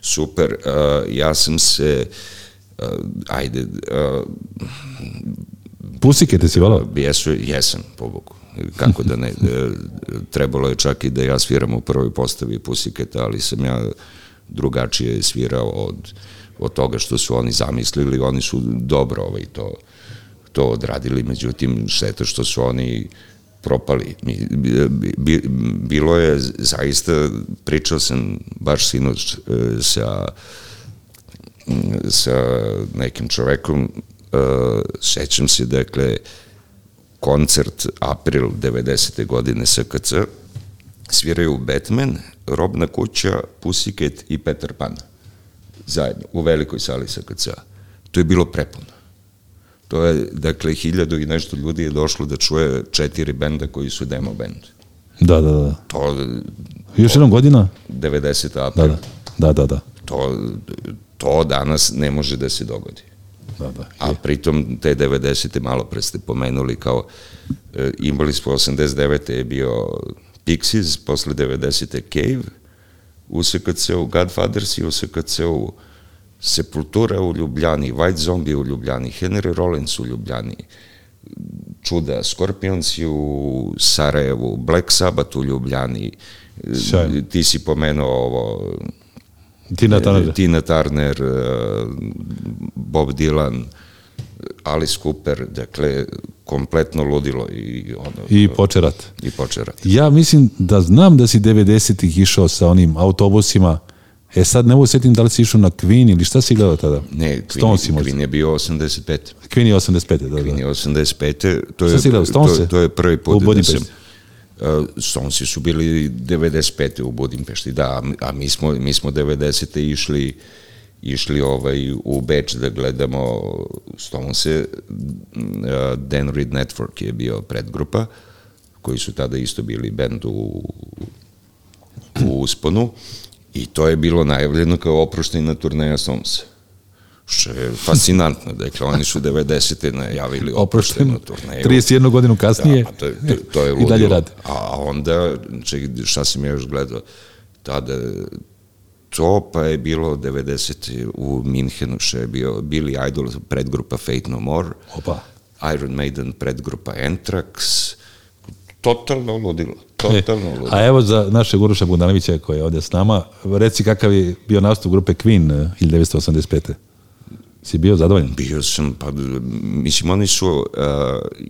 [SPEAKER 3] super. A, ja sam se a, ajde, eh, a,
[SPEAKER 2] Pusike te si volao?
[SPEAKER 3] Jesu, jesam, pobogu. Kako da ne, e, trebalo je čak i da ja sviram u prvoj postavi Pusiketa, ali sam ja drugačije svirao od, od toga što su oni zamislili, oni su dobro ovaj, to, to odradili, međutim, šteta što su oni propali. Mi- bi- bi- Bilo je zaista, pričao sam baš sinoć e, sa sa nekim čovekom, uh, sećam se, dakle, koncert april 90. godine SKC, sviraju Batman, Robna kuća, Pusiket i Peter Pan zajedno u velikoj sali SKC. To je bilo prepuno. To je, dakle, hiljadu i nešto ljudi je došlo da čuje četiri benda koji su demo bend.
[SPEAKER 2] Da, da, da.
[SPEAKER 3] To
[SPEAKER 2] Još jednom godina?
[SPEAKER 3] 90.
[SPEAKER 2] Da,
[SPEAKER 3] april.
[SPEAKER 2] da. Da, da, da.
[SPEAKER 3] To, to danas ne može da se dogodi.
[SPEAKER 2] da, da.
[SPEAKER 3] A pritom te 90. malo pre ste pomenuli kao e, imali smo 89. je bio Pixies, posle 90. Cave, u SKC-u Godfathers i u SKC-u Sepultura u Ljubljani, White Zombie u Ljubljani, Henry Rollins u Ljubljani, Čuda Scorpions u Sarajevu, Black Sabbath u Ljubljani, E,
[SPEAKER 2] Sjajno.
[SPEAKER 3] ti si pomenuo ovo
[SPEAKER 2] Tina Turner.
[SPEAKER 3] Tina Turner, eh, Bob Dylan, Alice Cooper, dakle, kompletno ludilo i ono...
[SPEAKER 2] I poče rat.
[SPEAKER 3] i poče rat.
[SPEAKER 2] Ja mislim da znam da si 90-ih išao sa onim autobusima. E sad ne mogu setim da li si išao na Queen ili šta si gledao tada?
[SPEAKER 3] Ne,
[SPEAKER 2] Stones
[SPEAKER 3] Queen,
[SPEAKER 2] možda.
[SPEAKER 3] Queen je bio 85.
[SPEAKER 2] Queen je 85. Da,
[SPEAKER 3] Queen je
[SPEAKER 2] da.
[SPEAKER 3] 85. To
[SPEAKER 2] Šta
[SPEAKER 3] je,
[SPEAKER 2] si gledao,
[SPEAKER 3] to,
[SPEAKER 2] Stonese?
[SPEAKER 3] to je prvi
[SPEAKER 2] U
[SPEAKER 3] put da sam...
[SPEAKER 2] Budimpešti.
[SPEAKER 3] Uh, Stonesi su bili 95. u Budimpešti, da, a mi- a mi smo, mi smo 90. išli išli ovaj u Beč da gledamo Stonese, Mm, uh, Dan Reed Network je bio predgrupa, koji su tada isto bili bend u, u usponu i to je bilo najavljeno kao oproštajna turneja Stonesa. Što je fascinantno, dakle oni su 90. najavili
[SPEAKER 2] Oprošteno.
[SPEAKER 3] oproštajnu turneju.
[SPEAKER 2] 31 godinu kasnije.
[SPEAKER 3] Da, a to, je- to, to je
[SPEAKER 2] I dalje
[SPEAKER 3] ludilo.
[SPEAKER 2] rade.
[SPEAKER 3] A onda, ček, šta sam ja još gledao, tada to pa je bilo 90. u Minhenu što je bio Billy Idol predgrupa Fate No More,
[SPEAKER 2] Opa.
[SPEAKER 3] Iron Maiden predgrupa Anthrax, totalno ludilo,
[SPEAKER 2] E,
[SPEAKER 3] totalno ludilo.
[SPEAKER 2] a evo za našeg Uroša Bogdanovića koji je ovdje s nama. Reci kakav je bio nastup grupe Queen eh, 1985. Si bio zadovoljan?
[SPEAKER 3] Bio sam, pa, mislim, oni su, uh,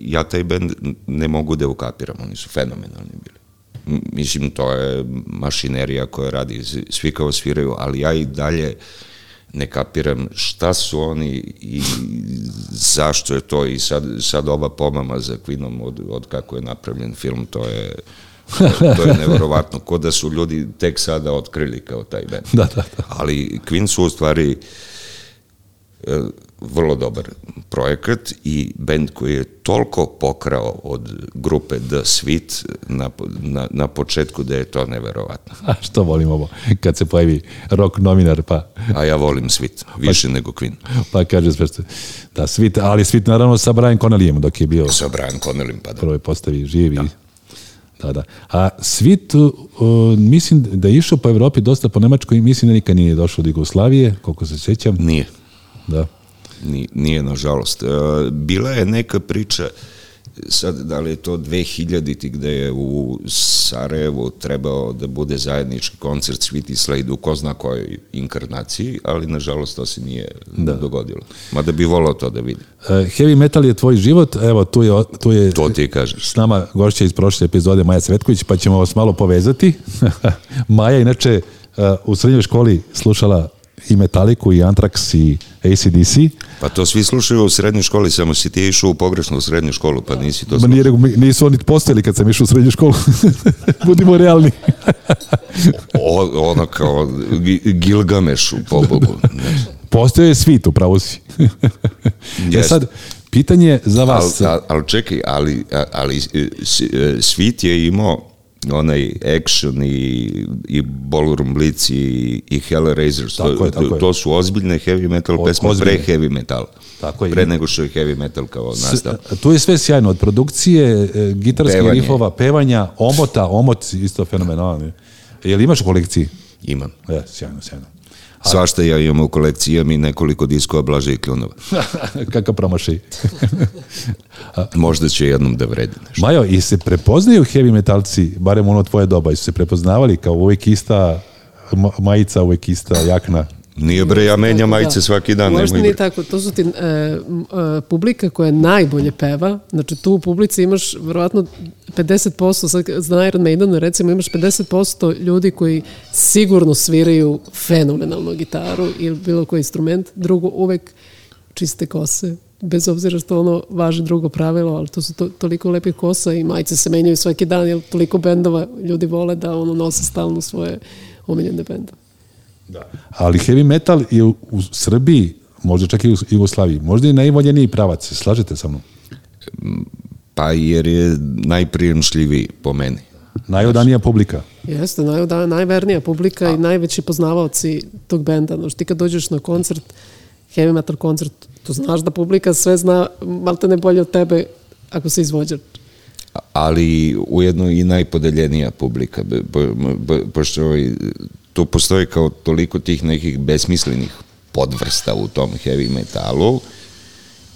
[SPEAKER 3] ja taj bend ne mogu da ukapiram, oni su fenomenalni bili. M- Mislim, to je mašinerija koja radi, s- svi kao sviraju, ali ja i dalje ne kapiram šta su oni i zašto je to i sad, sad ova pomama za Queenom od, od kako je napravljen film, to je to je neverovatno, ko da su ljudi tek sada otkrili kao taj band.
[SPEAKER 2] Da, da, da.
[SPEAKER 3] Ali Queen su u stvari e, vrlo dobar projekat i bend koji je toliko pokrao od grupe The Sweet na, po- na, na početku da je to neverovatno.
[SPEAKER 2] A Pa što volim ovo? Kad se pojavi rock nominar pa
[SPEAKER 3] A ja volim Sweet, više nego Queen.
[SPEAKER 2] pa kaže sve što... Da, Svit, ali Svit naravno sa Brian Connellyjem dok je bio
[SPEAKER 3] Sa Brian Connellim pa da.
[SPEAKER 2] prvoj postavi živi. Da, da. A Svit, uh, mislim da je išao po Evropi dosta po Nemačkoj, mislim da nikad nije došao do Jugoslavije, koliko se sjećam.
[SPEAKER 3] Nije.
[SPEAKER 2] Da.
[SPEAKER 3] Ni- Nije, nažalost. E, Bila je neka priča, sad da li je to 2000-ti gde je u Sarajevu trebao da bude zajednički koncert Sweet i Slade u ko zna kojoj inkarnaciji, ali nažalost to se nije dogodilo. Mada bi volao to da vidim.
[SPEAKER 2] E, heavy metal je tvoj život, evo tu je, tu je
[SPEAKER 3] To ti kažeš.
[SPEAKER 2] s nama gošća iz prošle epizode Maja Svetković, pa ćemo vas malo povezati. Maja je inače e, u srednjoj školi slušala i Metaliku, i Antrax, i ACDC.
[SPEAKER 3] Pa to svi slušaju u srednjoj školi, samo si ti išao u pogrešnu srednju školu, pa nisi to
[SPEAKER 2] Ma
[SPEAKER 3] slušao.
[SPEAKER 2] nije, nego mi- nisu oni postojali kad sam išao u srednju školu. Budimo realni.
[SPEAKER 3] O- Ono kao Gi- Gilgameš u pobogu.
[SPEAKER 2] Postojao je svit, upravo si. e
[SPEAKER 3] Jeste.
[SPEAKER 2] sad, pitanje za
[SPEAKER 3] Ali,
[SPEAKER 2] vas.
[SPEAKER 3] ali, ali čekaj, ali, ali e, s- e, Svit je imao onaj Action i, i Ballroom Blitz i, i Hellraisers,
[SPEAKER 2] Tako
[SPEAKER 3] to,
[SPEAKER 2] je, tako je.
[SPEAKER 3] to su ozbiljne heavy metal
[SPEAKER 2] O-
[SPEAKER 3] pesme
[SPEAKER 2] ozbiljne.
[SPEAKER 3] pre heavy metal.
[SPEAKER 2] Tako je.
[SPEAKER 3] Pre nego što je heavy metal kao nastao.
[SPEAKER 2] S- Tu je sve sjajno, od produkcije, e, gitarskih
[SPEAKER 3] Pevanje.
[SPEAKER 2] rifova, pevanja, omota, omot isto fenomenalni. Jel imaš u kolekciji?
[SPEAKER 3] Imam.
[SPEAKER 2] E, sjajno, sjajno.
[SPEAKER 3] Svašta ja imam u kolekciji, imam i nekoliko diskova Blaže i Kljunova.
[SPEAKER 2] Kakav promašaj.
[SPEAKER 3] Možda će jednom da vredi nešto.
[SPEAKER 2] Majo, i se prepoznaju heavy metalci, barem ono tvoje doba, i su se prepoznavali kao uvijek ista ma- majica, uvijek ista jakna.
[SPEAKER 3] Nije bre, ja menjam majice svaki dan.
[SPEAKER 6] Možda
[SPEAKER 3] nemoj
[SPEAKER 6] nije
[SPEAKER 3] bre.
[SPEAKER 6] tako, to su ti e, m, e, publika koja najbolje peva, znači tu u publici imaš verovatno 50%, sad za Iron Maiden recimo imaš 50% ljudi koji sigurno sviraju fenomenalnu gitaru ili bilo koji instrument, drugo uvek čiste kose, bez obzira što ono važi drugo pravilo, ali to su to, toliko lepih kosa i majice se menjaju svaki dan, jer toliko bendova ljudi vole da ono nose stalno svoje omiljene bendove.
[SPEAKER 2] Ali heavy metal je u, u Srbiji, možda čak i u Jugoslaviji, možda i najvoljeniji pravac, se slažete sa mnom?
[SPEAKER 3] Pa jer je najprijemšljiviji po meni.
[SPEAKER 2] Najodanija publika.
[SPEAKER 6] Jeste, naj, da, najvernija publika i najveći poznavaoci tog benda. Znači, ti kad dođeš na koncert, heavy metal koncert, tu znaš da publika sve zna, malte ne bolje od tebe ako si izvođač.
[SPEAKER 3] ali ujedno i najpodeljenija publika, b- b- b- pošto ovaj, tu postoji kao toliko tih nekih besmislenih podvrsta u tom heavy metalu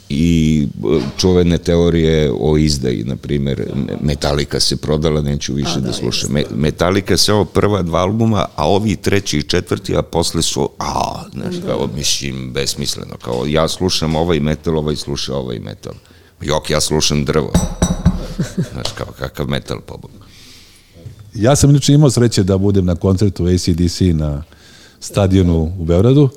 [SPEAKER 3] i b- čuvene teorije o izdaji, na primjer, Me- Metallica se prodala, neću više da, slušam. Me- Metallica se ovo prva dva albuma, a ovi treći i četvrti, a posle su, a, znaš, kao, mislim, besmisleno, kao, ja slušam ovaj metal, ovaj sluša ovaj metal. Jok, ja slušam drvo. Znaš, kao kakav metal pobog.
[SPEAKER 2] Ja sam inače imao sreće da budem na koncertu ACDC na stadionu u Beogradu.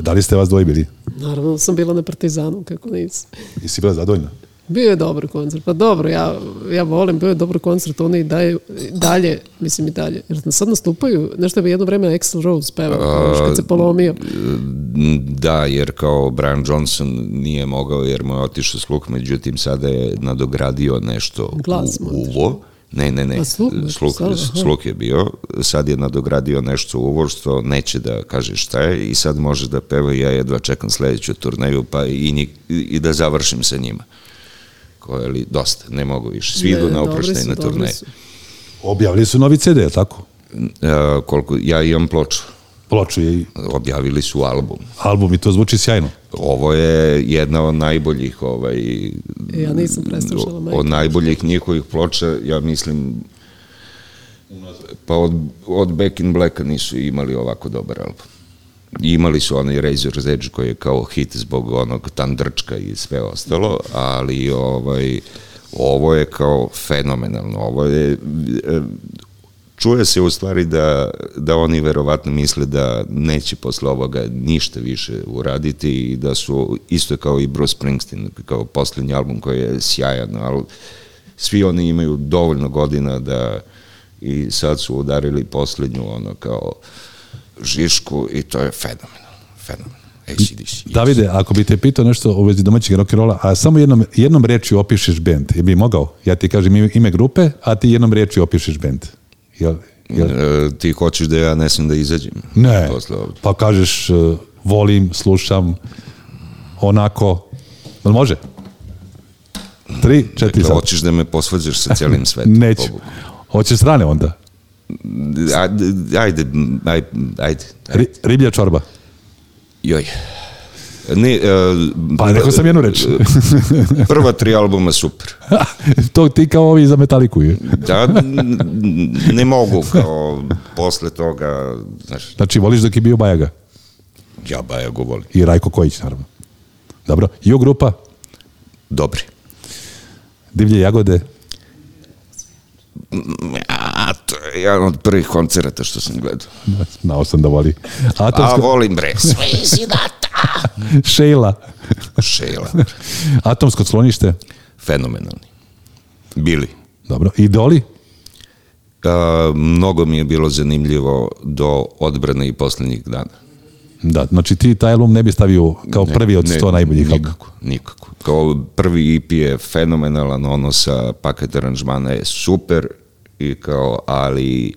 [SPEAKER 2] Da li ste vas dvoje bili?
[SPEAKER 6] Naravno sam bila na Partizanu, kako nisam.
[SPEAKER 2] Jesi bila zadovoljna?
[SPEAKER 6] Bio je dobar koncert, pa dobro, ja, ja volim, bio je dobar koncert, oni i dalje, dalje, mislim i dalje, jer sad nastupaju, nešto bi jedno vreme Axl Rose pevao, kad se polomio.
[SPEAKER 3] Da, jer kao Brian Johnson nije mogao jer mu je otišao sluh, međutim sada je nadogradio nešto
[SPEAKER 6] Glas
[SPEAKER 3] u
[SPEAKER 6] mu je
[SPEAKER 3] uvo. Ne, ne, ne,
[SPEAKER 6] A sluh mu je
[SPEAKER 3] sluh,
[SPEAKER 6] sada, aha.
[SPEAKER 3] sluh je bio, sad je nadogradio nešto u uvo što neće da kaže šta je i sad može da peva i ja jedva čekam sledeću turneju pa i, njih, i da završim sa njima. Koje li, dosta, ne mogu više. Svi
[SPEAKER 6] Ne,
[SPEAKER 3] idu na
[SPEAKER 6] dobri
[SPEAKER 3] oproštaj
[SPEAKER 6] su,
[SPEAKER 3] na
[SPEAKER 6] dobri
[SPEAKER 3] turneje.
[SPEAKER 6] su.
[SPEAKER 2] Objavili su novi CD, jel tako?
[SPEAKER 3] E, koliko, ja imam ploču,
[SPEAKER 2] Ploču je i
[SPEAKER 3] objavili su album.
[SPEAKER 2] album i to zvuči sjajno.
[SPEAKER 3] Ovo je jedna od najboljih ovaj
[SPEAKER 6] Ja nisam preslušala, majke.
[SPEAKER 3] od najboljih njihovih ploča, ja mislim pa od, od Back in Blacka nisu imali ovako dobar album. I Imali su onaj Razor's Edge koji je kao hit zbog onog tandrčka i sve ostalo, ali ovaj ovo je kao fenomenalno. Ovo je e, čuje se u stvari da, da oni verovatno misle da neće posle ovoga ništa više uraditi i da su isto kao i Bruce Springsteen, kao posljednji album koji je sjajan, ali svi oni imaju dovoljno godina da i sad su udarili posljednju ono kao žišku i to je fenomenalno, fenomenalno. ACDC.
[SPEAKER 2] Davide, ako bi te pitao nešto o vezi domaćeg rock'n'rolla, a samo jednom, jednom rečju opišeš bend, je bi mogao? Ja ti kažem ime- ime grupe, a ti jednom rečju opišeš bend. Jel, jel?
[SPEAKER 3] E, ti hoćeš da ja ne smem da izađem?
[SPEAKER 2] Ne,
[SPEAKER 3] Posle ovde.
[SPEAKER 2] pa kažeš eh, volim, slušam, onako, jel može? Tri, četiri
[SPEAKER 3] Dakle,
[SPEAKER 2] sad.
[SPEAKER 3] hoćeš da me posvađaš sa cijelim svetom?
[SPEAKER 2] Neću.
[SPEAKER 3] pobogu.
[SPEAKER 2] Hoćeš strane onda?
[SPEAKER 3] Ajde, ajde, ajde, ajde.
[SPEAKER 2] Ri, riblja čorba.
[SPEAKER 3] Joj. Ne, e,
[SPEAKER 2] Pa rekao sam jednu reč.
[SPEAKER 3] prva tri albuma super.
[SPEAKER 2] to ti kao ovi za metaliku. je.
[SPEAKER 3] Da, n- ne mogu kao posle toga, znaš,
[SPEAKER 2] Znači, voliš dok je bio Bajaga.
[SPEAKER 3] ja Bajago volim.
[SPEAKER 2] I Rajko Kojić, naravno. Dobro. Jo grupa,
[SPEAKER 3] Dobri.
[SPEAKER 2] Divlje jagode.
[SPEAKER 3] A, to je jedan od prvih koncerata što sam gledao.
[SPEAKER 2] Znao sam da voli.
[SPEAKER 3] A
[SPEAKER 2] Atomska,
[SPEAKER 3] volim bre, sve
[SPEAKER 2] Šejla.
[SPEAKER 3] šela.
[SPEAKER 2] Atomsko slonište.
[SPEAKER 3] Fenomenalni. Bili.
[SPEAKER 2] Dobro. Idoli.
[SPEAKER 3] A, mnogo mi je bilo zanimljivo do odbrane i posljednjih dana.
[SPEAKER 2] Da, znači ti taj album ne bi stavio kao prvi od 100 najboljih albuma.
[SPEAKER 3] Nikako, nikako. Kao prvi EP je fenomenalan, ono sa paket aranžmana je super i kao, ali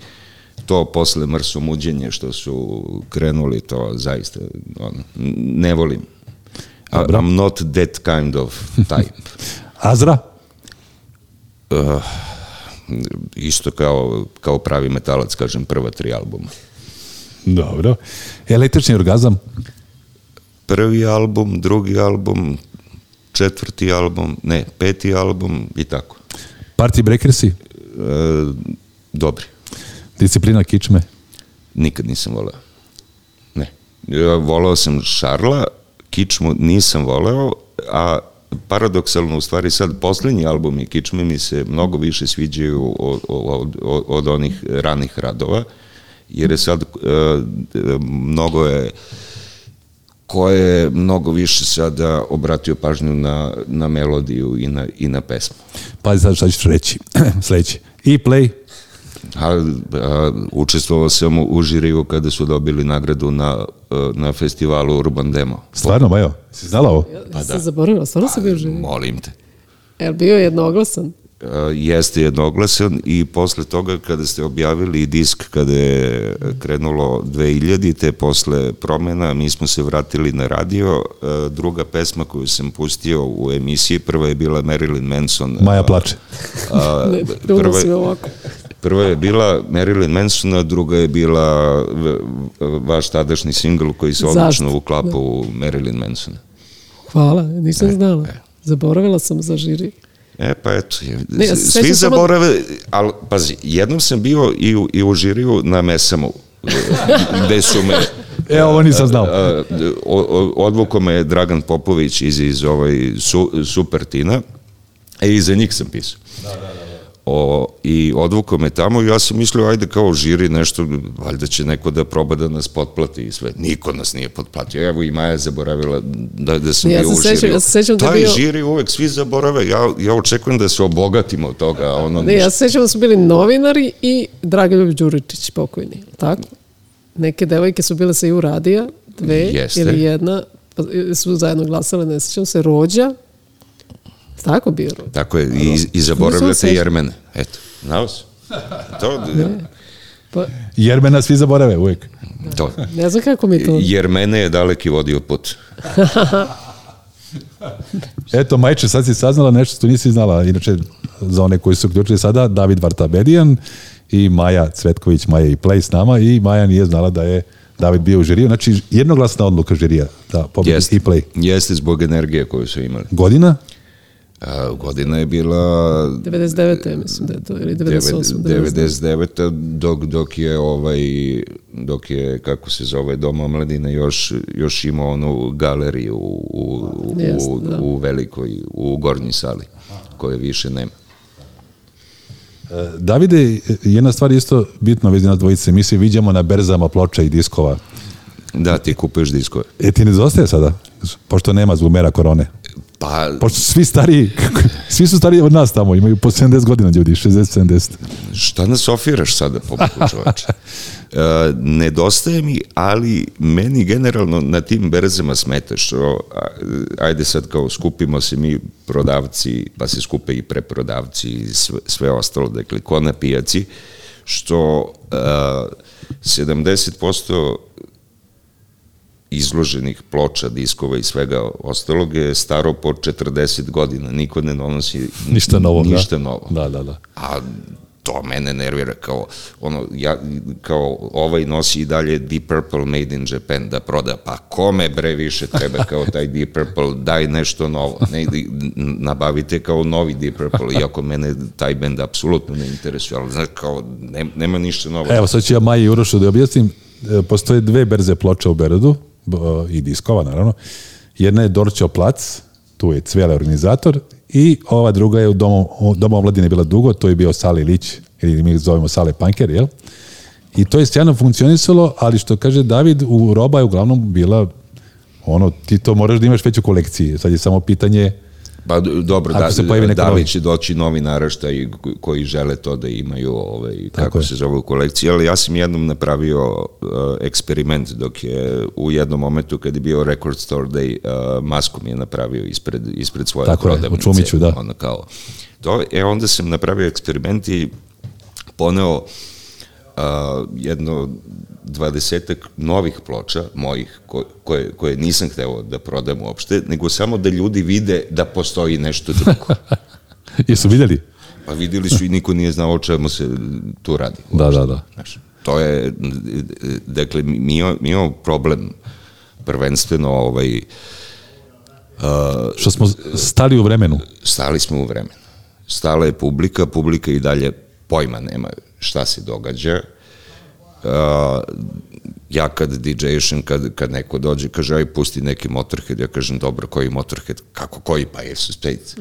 [SPEAKER 3] to posle mrsu muđenje što su krenuli, to zaista on, ne volim. A, I'm not that kind of type. Eh,
[SPEAKER 2] Azra?
[SPEAKER 3] Isto kao, kao pravi metalac, kažem, prva tri albuma.
[SPEAKER 2] Dobro. Električni orgazam?
[SPEAKER 3] Prvi album, drugi album, četvrti album, ne, peti album i tako.
[SPEAKER 2] Party breakersi?
[SPEAKER 3] E, dobri.
[SPEAKER 2] Disciplina kičme?
[SPEAKER 3] Nikad nisam voleo. Ne. Ja voleo sam Šarla, Kičmu nisam voleo, a paradoksalno u stvari sad poslednji album i Kičme mi se mnogo više sviđaju od, od, od, od onih ranih radova, jer je sad e, e, mnogo je koje je mnogo više sada obratio pažnju na, na melodiju i na, i na pesmu.
[SPEAKER 2] Pazi sad šta ćeš reći. Sljedeći. I play?
[SPEAKER 3] A, a, učestvovao sam u žiriju kada su dobili nagradu na, e, na festivalu Urban Demo.
[SPEAKER 2] Stvarno, Majo? Si znala ovo?
[SPEAKER 6] Ja sam zaboravila, stvarno sam bio živ.
[SPEAKER 3] Molim te.
[SPEAKER 6] Jel bio jednoglasan?
[SPEAKER 3] E, jeste jednoglasan i posle toga kada ste objavili disk kada je krenulo 2000 te posle promena mi smo se vratili na radio E, druga pesma koju sam pustio u emisiji prva je bila Marilyn Manson e,
[SPEAKER 2] Maja plače.
[SPEAKER 3] A,
[SPEAKER 6] Ne, drugo
[SPEAKER 3] prva,
[SPEAKER 6] si mi ovako.
[SPEAKER 3] prva je bila Marilyn Manson a druga je bila v- v- vaš tadašnji singl koji se
[SPEAKER 6] Zašto?
[SPEAKER 3] odlično uklapa u Marilyn Manson
[SPEAKER 6] Hvala, nisam znala. Zaboravila sam za žiri.
[SPEAKER 3] E, pa eto,
[SPEAKER 6] Ne, ja se
[SPEAKER 3] svi
[SPEAKER 6] sećam samo-
[SPEAKER 3] zaborave, ali pazi, jednom sam bio i u, i u žiriju na Mesamu, gde su me...
[SPEAKER 2] E, ovo nisam znao.
[SPEAKER 3] a, o- o- Odvukao me je Dragan Popović iz, iz ovaj su, Supertina, e, i za njih sam pisao. O, I odvukao me tamo i ja sam mislio, ajde kao žiri nešto, valjda će neko da proba da nas potplati i sve. Niko nas nije potplatio. Evo i Maja je zaboravila da, da sam
[SPEAKER 6] Ja
[SPEAKER 3] bio
[SPEAKER 6] se
[SPEAKER 3] u
[SPEAKER 6] sećam-
[SPEAKER 3] žiriju.
[SPEAKER 6] ja se sećam da je
[SPEAKER 3] Taj
[SPEAKER 6] bio-
[SPEAKER 3] žiri uvek svi zaborave. Ja, ja očekujem da se obogatimo od toga. a Ono,
[SPEAKER 6] Ne,
[SPEAKER 3] ništa.
[SPEAKER 6] ja se sjećam da su bili novinari i Dragoljub Đuričić pokojni, jel tako? Neke devojke su bile sa i radija, dve
[SPEAKER 3] Jeste.
[SPEAKER 6] ili jedna, pa su zajedno glasale, ne sjećam se, Rođa. Tako bio Rođa.
[SPEAKER 3] Tako je, i, i
[SPEAKER 6] Nisam
[SPEAKER 3] zaboravljate
[SPEAKER 6] sećam.
[SPEAKER 3] Jermene. Eto, znao si? To,
[SPEAKER 6] Pa,
[SPEAKER 2] Jermena svi zaborave uvijek.
[SPEAKER 3] to.
[SPEAKER 6] ne znam kako mi to...
[SPEAKER 3] Jermene je daleki vodio put.
[SPEAKER 2] Eto, Majče, sad si saznala nešto što nisi znala. Inače, za one koji su uključili sada, David Vartabedijan i Maja Cvetković, Maja i Play s nama i Maja nije znala da je David bio u žiriju. Znači, jednoglasna odluka žirija da pobedi
[SPEAKER 3] Jeste,
[SPEAKER 2] i Play.
[SPEAKER 3] jeste zbog energije koju su imali.
[SPEAKER 2] Godina? E,
[SPEAKER 3] A, godina je bila
[SPEAKER 6] 99. mislim da je to, ili 98. 99.
[SPEAKER 3] 99. dok, dok je ovaj dok je kako se zove Dom omladine još još imao onu galeriju u u, u,
[SPEAKER 6] Jest,
[SPEAKER 3] u,
[SPEAKER 6] da.
[SPEAKER 3] u velikoj u gornjoj sali koje više nema.
[SPEAKER 2] E, Davide, jedna stvar je isto bitna vezi nas dvojice. Mi se viđamo na berzama ploča i diskova.
[SPEAKER 3] Da, ti kupuješ diskove.
[SPEAKER 2] E, ti nedostaje sada? Pošto nema zbog mera korone.
[SPEAKER 3] Pa
[SPEAKER 2] Pošto svi stariji, svi su stariji od nas tamo, imaju po 70 godina ljudi, 60-70.
[SPEAKER 3] šta nas ofiraš sada pobogu čoveče? E, nedostaje mi, ali meni generalno na tim berzama smeta što, a, ajde sad kao skupimo se mi prodavci, pa se skupe i preprodavci i sve, sve ostalo, dakle, ko na pijaci, što e, 70% izloženih ploča, diskova i svega ostalog je staro po 40 godina. Niko ne donosi
[SPEAKER 2] Ništa novo.
[SPEAKER 3] ništa
[SPEAKER 2] da.
[SPEAKER 3] novo.
[SPEAKER 2] Da, da, da.
[SPEAKER 3] A to mene nervira kao ono ja kao ovaj nosi i dalje Deep Purple Made in Japan da proda pa kome bre više treba kao taj Deep Purple daj nešto novo ne i- nabavite kao novi Deep Purple iako mene taj bend apsolutno ne interesuje ali znaš kao ne- nema ništa novo
[SPEAKER 2] Evo, sad ću ja Maji i Urošu da objasnim. E, Postoje dve berze ploče u Berodu b- i diskova, naravno. Jedna je Dorčeo plac, tu je Cvele organizator, i ova druga je u domu, u domu omladine bila dugo, to je bio Sali Lić, ili mi zovemo Sale Panker, jel? I to je sjajno funkcionisalo, ali što kaže David, u roba je uglavnom bila ono, ti to moraš da imaš već u kolekciji. Sad je samo pitanje
[SPEAKER 3] pa d- dobro
[SPEAKER 2] Ako
[SPEAKER 3] da,
[SPEAKER 2] se pojavi neko
[SPEAKER 3] da
[SPEAKER 2] novi.
[SPEAKER 3] li će doći novi naraštaj ko- koji žele to da imaju ovaj, kako
[SPEAKER 2] je.
[SPEAKER 3] se zove u kolekciji, ali ja sam jednom napravio uh, eksperiment dok je u jednom momentu kad je bio Record Store Day uh, masku mi je napravio ispred, ispred svoje
[SPEAKER 2] Tako je, u
[SPEAKER 3] prodavnice.
[SPEAKER 2] Čumiću, da.
[SPEAKER 3] Ono kao, to, e onda sam napravio eksperiment i poneo a, jedno dvadesetak novih ploča mojih ko, koje, koje nisam hteo da prodam uopšte, nego samo da ljudi vide da postoji nešto drugo.
[SPEAKER 2] Jesu vidjeli?
[SPEAKER 3] Pa videli su i niko nije znao o čemu se tu radi.
[SPEAKER 2] Da, da, da.
[SPEAKER 3] Znaš, to je, e, dakle, mi, imamo- mi imamo problem prvenstveno ovaj,
[SPEAKER 2] Što smo stali u vremenu.
[SPEAKER 3] stali smo u vremenu. Stala je publika, publika i dalje pojma nema šta se događa. A, ja kad DJ-šem, kad, kad neko dođe, kaže, aj pusti neki Motorhead, ja kažem, dobro, koji Motorhead? Kako koji? Pa Ace of Spades.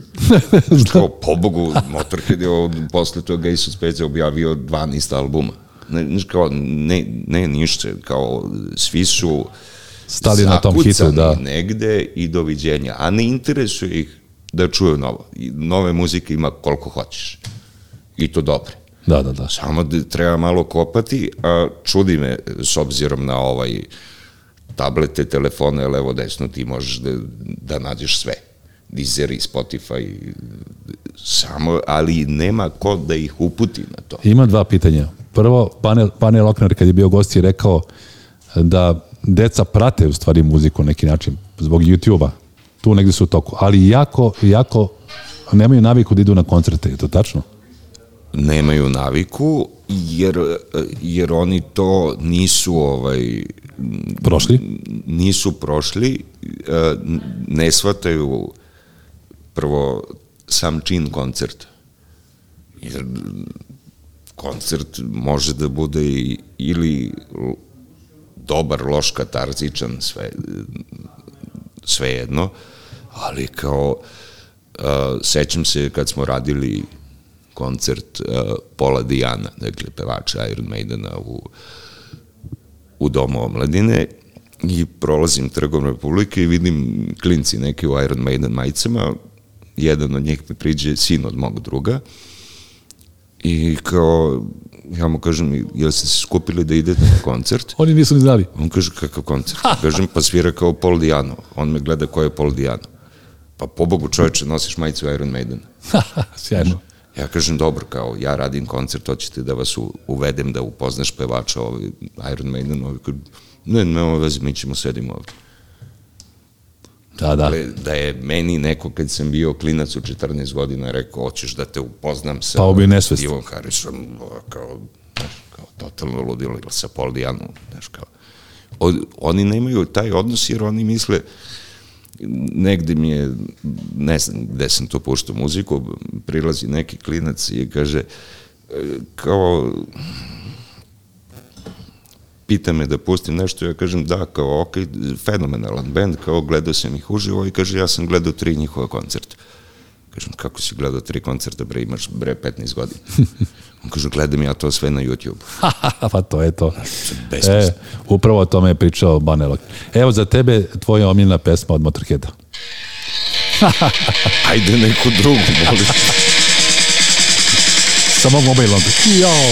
[SPEAKER 3] Što, pobogu, Motorhead je od, posle toga Ace of Spades je objavio 12 albuma. Ne, znaš, kao, ne, ne ništa, kao, svi su
[SPEAKER 2] Stali na tom hitu,
[SPEAKER 3] zakucani
[SPEAKER 2] da.
[SPEAKER 3] negde i doviđenja. A ne interesuje ih da čuju novo. I nove muzike ima koliko hoćeš. I to dobre.
[SPEAKER 2] Da, da, da.
[SPEAKER 3] Samo da treba malo kopati, a čudi me s obzirom na ovaj tablete, telefone, levo, desno, ti možeš da, da nađeš sve. Deezer i Spotify, samo, ali nema ko da ih uputi na to.
[SPEAKER 2] Ima dva pitanja. Prvo, panel, panel Oknar kad je bio gost je rekao da deca prate u stvari muziku na neki način zbog YouTube-a. Tu negdje su u toku. Ali jako, jako nemaju naviku da idu na koncerte. Je to tačno?
[SPEAKER 3] nemaju naviku jer, jer oni to nisu ovaj
[SPEAKER 2] Prošli?
[SPEAKER 3] nisu prošli eh, ne shvataju prvo sam čin koncerta jer mm, koncert može da bude i- ili l- dobar, loš, katarzičan, sve, svejedno, ali kao, uh, sećam se kad smo radili koncert uh, Pola Dijana, dakle pevača Iron Maidena u, u Domu omladine i prolazim trgom Republike i vidim klinci neki u Iron Maiden majicama, jedan od njih mi priđe sin od mog druga, I kao, ja mu kažem, jel ste se skupili da idete na koncert?
[SPEAKER 2] Oni nisu ni znali.
[SPEAKER 3] On kaže, kakav koncert? Kažem, pa svira kao Paul Diano. On me gleda ko je Paul Diano. Pa pobogu čoveče, nosiš majicu Iron Maidena.
[SPEAKER 2] Sjajno.
[SPEAKER 3] Ja kažem, dobro, kao, ja radim koncert, hoćete da vas u- uvedem da upoznaš pevača ovaj, Iron Maiden. Ovaj, kaže, ne, nema veze, mi ćemo sedimo ovde.
[SPEAKER 2] Da, da.
[SPEAKER 3] Ali da je meni neko kad sam bio klinac u 14 godina rekao hoćeš da te upoznam sa
[SPEAKER 2] Pao bi nesvest.
[SPEAKER 3] Ivan Harrisom o, ono, kao, znaš, kao totalno ludilo ili sa Paul Dijanom, znaš kao. O, oni nemaju taj odnos jer oni misle negde mi je, ne znam gde sam to puštao muziku, prilazi neki klinac i kaže e, kao pita me da pustim nešto, ja kažem da, kao ok, fenomenalan band, kao gledao sam ih uživo i kaže ja sam gledao tri njihova koncerta. Kažem, kako si gledao tri koncerta, bre, imaš bre 15 godina. On kaže, gledam ja to sve na YouTube.
[SPEAKER 2] pa to je to.
[SPEAKER 3] Besmisno.
[SPEAKER 2] E, upravo o tome je pričao Banelok. Evo za tebe tvoja omiljena pesma od Motorheada.
[SPEAKER 3] Ajde neku drugu, molim.
[SPEAKER 2] Sa mog mobilnog. Jao.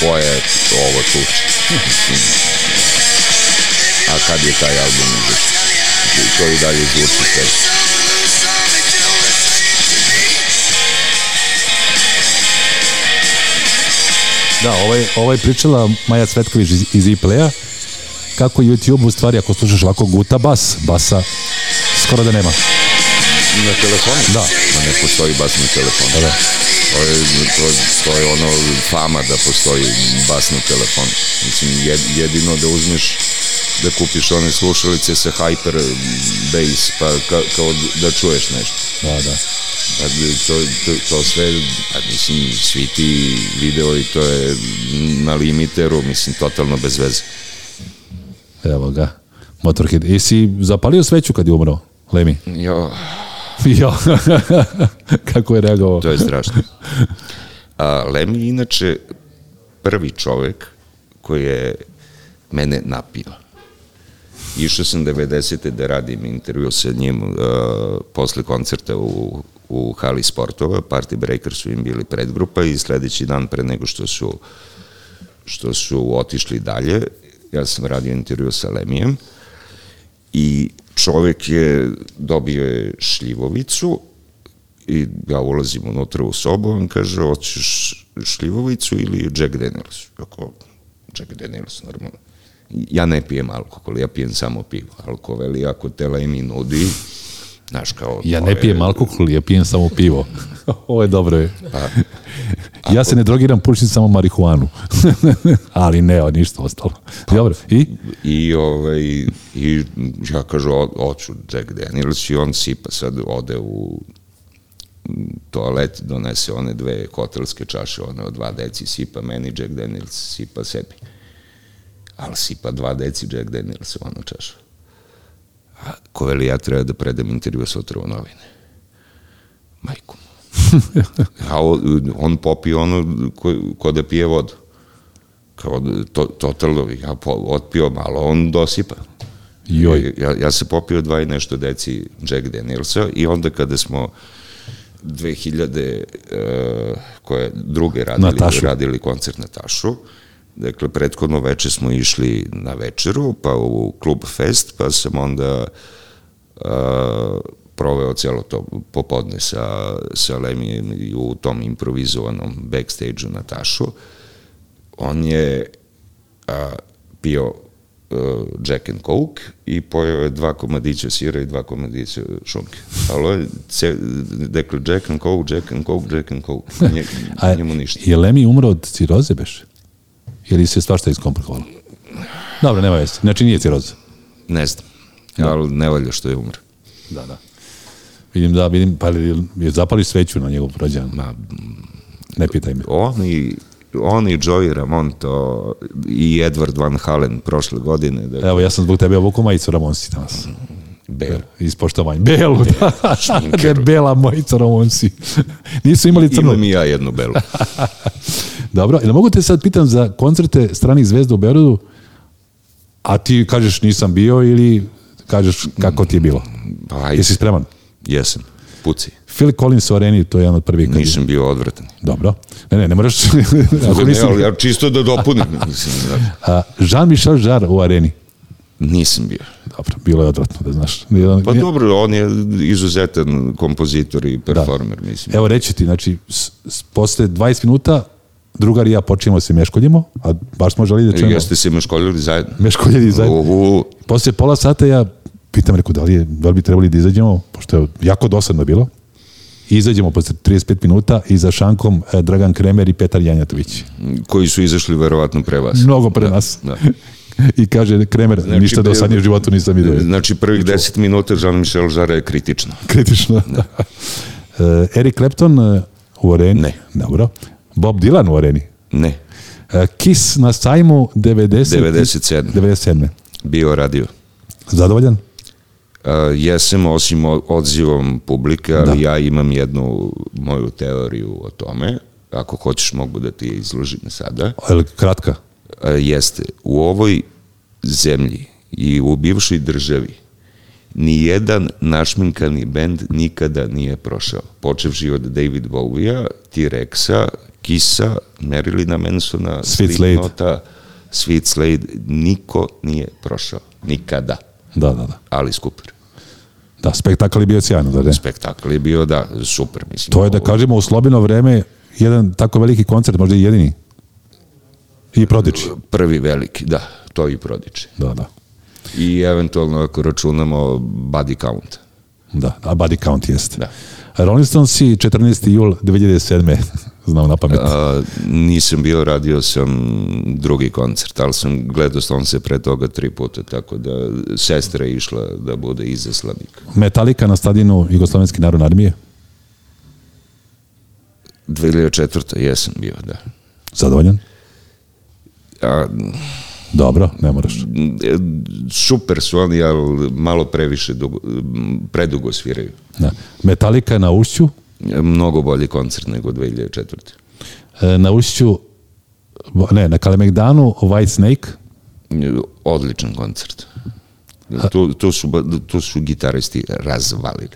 [SPEAKER 3] Ko je ovo tu? A kad je taj album izašao? To i dalje zvuči sve.
[SPEAKER 2] Da, ovo je, ovo je pričala Maja Cvetković iz, iz Iplea, kako YouTube u stvari, ako slušaš ovako guta bas, basa skoro da nema.
[SPEAKER 3] Na telefonu?
[SPEAKER 2] Da.
[SPEAKER 3] Ma ne postoji bas na telefonu. Da. To je, to, to je ono fama da postoji bas na telefonu. Mislim, jed, jedino da uzmeš da kupiš one slušalice sa hyper bass, pa ka, kao da čuješ nešto.
[SPEAKER 2] Da, da.
[SPEAKER 3] Pa to, to, to sve, pa mislim, svi ti video i to je na limiteru, mislim, totalno bez veze.
[SPEAKER 2] Evo ga. Motorhead. I si zapalio sveću kad je umro, Lemi?
[SPEAKER 3] Jo,
[SPEAKER 2] Jo. kako je reagovao?
[SPEAKER 3] To je strašno. A, Lem je inače prvi čovek koji je mene napio. Išao sam 90. da radim intervju sa njim uh, posle koncerta u, u hali sportova, Party Breakers su im bili predgrupa i sledeći dan pre nego što su što su otišli dalje, ja sam radio intervju sa Lemijem i čovek je dobio je šljivovicu I ja ulazim unutra u sobu, on kaže, hoćeš šljivovicu ili Jack Daniels? Ako, Jack Daniels, normalno. Ja ne pijem alkohol, ja pijem samo pivo. Alkohol je ako tela i mi nudi, znaš kao...
[SPEAKER 2] Ja
[SPEAKER 3] to
[SPEAKER 2] ne
[SPEAKER 3] je-
[SPEAKER 2] pijem alkohol, ja pijem samo pivo. Ovo je dobro. je. ja se ne drogiram, pušim samo marihuanu. Ali ne, o, ništa ostalo. Dobro, i?
[SPEAKER 3] Pa- I, ovaj, i ja kažu, "O- hoću Jack Daniels i on sipa sad ode u toalet, donese one dve hotelske čaše, one od dva deci, sipa meni Jack Daniels, sipa sebi. Ali sipa dva deci Jack Daniels u onu čašu. A ko veli ja treba da predam intervju sutra u novine. Majku. mu. A o- on popije ono ko, ko da pije vodu kao to, totalno, ja po, otpio malo, on dosipa.
[SPEAKER 2] Joj.
[SPEAKER 3] Ja, ja se popio dva i nešto deci Jack Danielsa i onda kada smo 2000 e, koje druge radili,
[SPEAKER 2] Natašu.
[SPEAKER 3] radili koncert na Tašu, dakle prethodno veče smo išli na večeru, pa u klub Fest, pa sam onda a, proveo celo to popodne sa, sa Lemijem i u tom improvizovanom backstage-u na Tašu. On je a, pio uh, Jack and Coke i pojeo je dva komadića sira i dva komadića šunke. Ali ovo je, ce, dakle, Jack and Coke, Jack and Coke, Jack and Coke. Nje,
[SPEAKER 2] A,
[SPEAKER 3] njemu ništa.
[SPEAKER 2] Je Lemi umro od ciroze, beš? Ili se svašta iskomplikovalo? Dobro, nema veze. Znači nije ciroza.
[SPEAKER 3] Ne znam. Ali ne valja što je umro.
[SPEAKER 2] Da, da. Vidim da, vidim, pa je je zapali sveću na njegov rođendan.
[SPEAKER 3] Ma,
[SPEAKER 2] Ne pitaj me.
[SPEAKER 3] oni oni Joey Ramon to i Edward Van Halen prošle godine da
[SPEAKER 2] Evo, ja sam zbog tebe obuku majicu Ramonsi danas.
[SPEAKER 3] Bel.
[SPEAKER 2] Iz poštovanja. Belu, da. Da je bela majica Ramonsi. Nisu imali crnu.
[SPEAKER 3] Imam i ja jednu belu.
[SPEAKER 2] Dobro, ili mogu te sad pitam za koncerte stranih zvezda u Beorodu, a ti kažeš nisam bio ili kažeš kako ti je bilo?
[SPEAKER 3] Pa, ajde.
[SPEAKER 2] Jesi spreman?
[SPEAKER 3] Jesam. Puci.
[SPEAKER 2] Phil Collins u areni, to je jedan od prvih. kad je-
[SPEAKER 3] Nisam bio odvratan.
[SPEAKER 2] Dobro. Ne, ne, ne moraš. Ako
[SPEAKER 3] Ne,
[SPEAKER 2] nisi-
[SPEAKER 3] ali ja čisto da dopunim. Mislim, da.
[SPEAKER 2] A, Jean-Michel Jarre u areni.
[SPEAKER 3] Nisam bio.
[SPEAKER 2] Dobro, bilo je odvratno, da znaš. Jedan-
[SPEAKER 3] Pa dobro, on je izuzetan kompozitor i performer, mislim.
[SPEAKER 2] Evo reći ti, znači, s, s, posle 20 minuta drugar i ja počinjemo se meškoljimo, a baš smo želi da čujemo.
[SPEAKER 3] E, Jeste se meškoljili zajedno?
[SPEAKER 2] Meškoljeni zajedno.
[SPEAKER 3] Uhu.
[SPEAKER 2] Posle pola sata ja pitam, reku, da li, je, da li bi trebali da izađemo, pošto je jako dosadno bilo. I izađemo posle 35 minuta i za šankom e, Dragan Kremer i Petar Janjatović.
[SPEAKER 3] Koji su izašli verovatno pre vas.
[SPEAKER 2] Mnogo pre nas.
[SPEAKER 3] da.
[SPEAKER 2] I kaže Kremer,
[SPEAKER 3] Znači,
[SPEAKER 2] ništa
[SPEAKER 3] pre-
[SPEAKER 2] dosadnije u životu nisam vidio.
[SPEAKER 3] Znači, prvih deset minuta Jean-Michel Jarre je kritično.
[SPEAKER 2] Kritično. E, Eric Clapton e, u areni.
[SPEAKER 3] Ne.
[SPEAKER 2] Dobro. Bob Dylan u areni.
[SPEAKER 3] Ne,
[SPEAKER 2] E, Kiss na sajmu 90,
[SPEAKER 3] 97.
[SPEAKER 2] 97.
[SPEAKER 3] bio radio.
[SPEAKER 2] Zadovoljan?
[SPEAKER 3] Uh, jesam, osim o- odzivom publike, ali ja imam jednu moju teoriju o tome. Ako hoćeš, mogu da ti je izložim sada.
[SPEAKER 2] Jel kratka?
[SPEAKER 3] A, E, jeste u ovoj zemlji i u bivšoj državi ni jedan našminkani bend nikada nije prošao. Počevši od David Bowie-a, T-Rexa, Kisa, Marylina Mansona,
[SPEAKER 2] Sweet
[SPEAKER 3] Slipknota, Sweet Slade, niko nije prošao. Nikada.
[SPEAKER 2] Da, da, da.
[SPEAKER 3] Ali Cooper.
[SPEAKER 2] Da, spektakl je bio sjajan, da ne?
[SPEAKER 3] Spektakl je bio, da, super, mislim.
[SPEAKER 2] To je da kažemo u slobino vreme jedan tako veliki koncert, možda i jedini. I prodiči.
[SPEAKER 3] Prvi veliki, da, to i prodiče.
[SPEAKER 2] Da, da.
[SPEAKER 3] I eventualno ako računamo body count.
[SPEAKER 2] Da, a body count jeste.
[SPEAKER 3] Da.
[SPEAKER 2] Rolling Stones i 14. jul 2007. Znam na pamet.
[SPEAKER 3] A, nisam bio, radio sam drugi koncert, ali sam gledao Stonce pre toga tri puta, tako da sestra je išla da bude izaslanik.
[SPEAKER 2] Metallica na stadionu Jugoslovenske narodne armije.
[SPEAKER 3] 2004. jesam bio, da.
[SPEAKER 2] Zadovoljan?
[SPEAKER 3] A,
[SPEAKER 2] Dobro, ne moraš.
[SPEAKER 3] e, super su oni, ali malo previše, dugo, m, predugo sviraju.
[SPEAKER 2] Da. Metallica na ušću,
[SPEAKER 3] E, Mnogo bolji koncert nego 2004.
[SPEAKER 2] e, na ušću, ne, na Kalemegdanu, White Snake,
[SPEAKER 3] E, Odličan koncert. Tu, tu, su, ba- tu su gitaristi razvalili.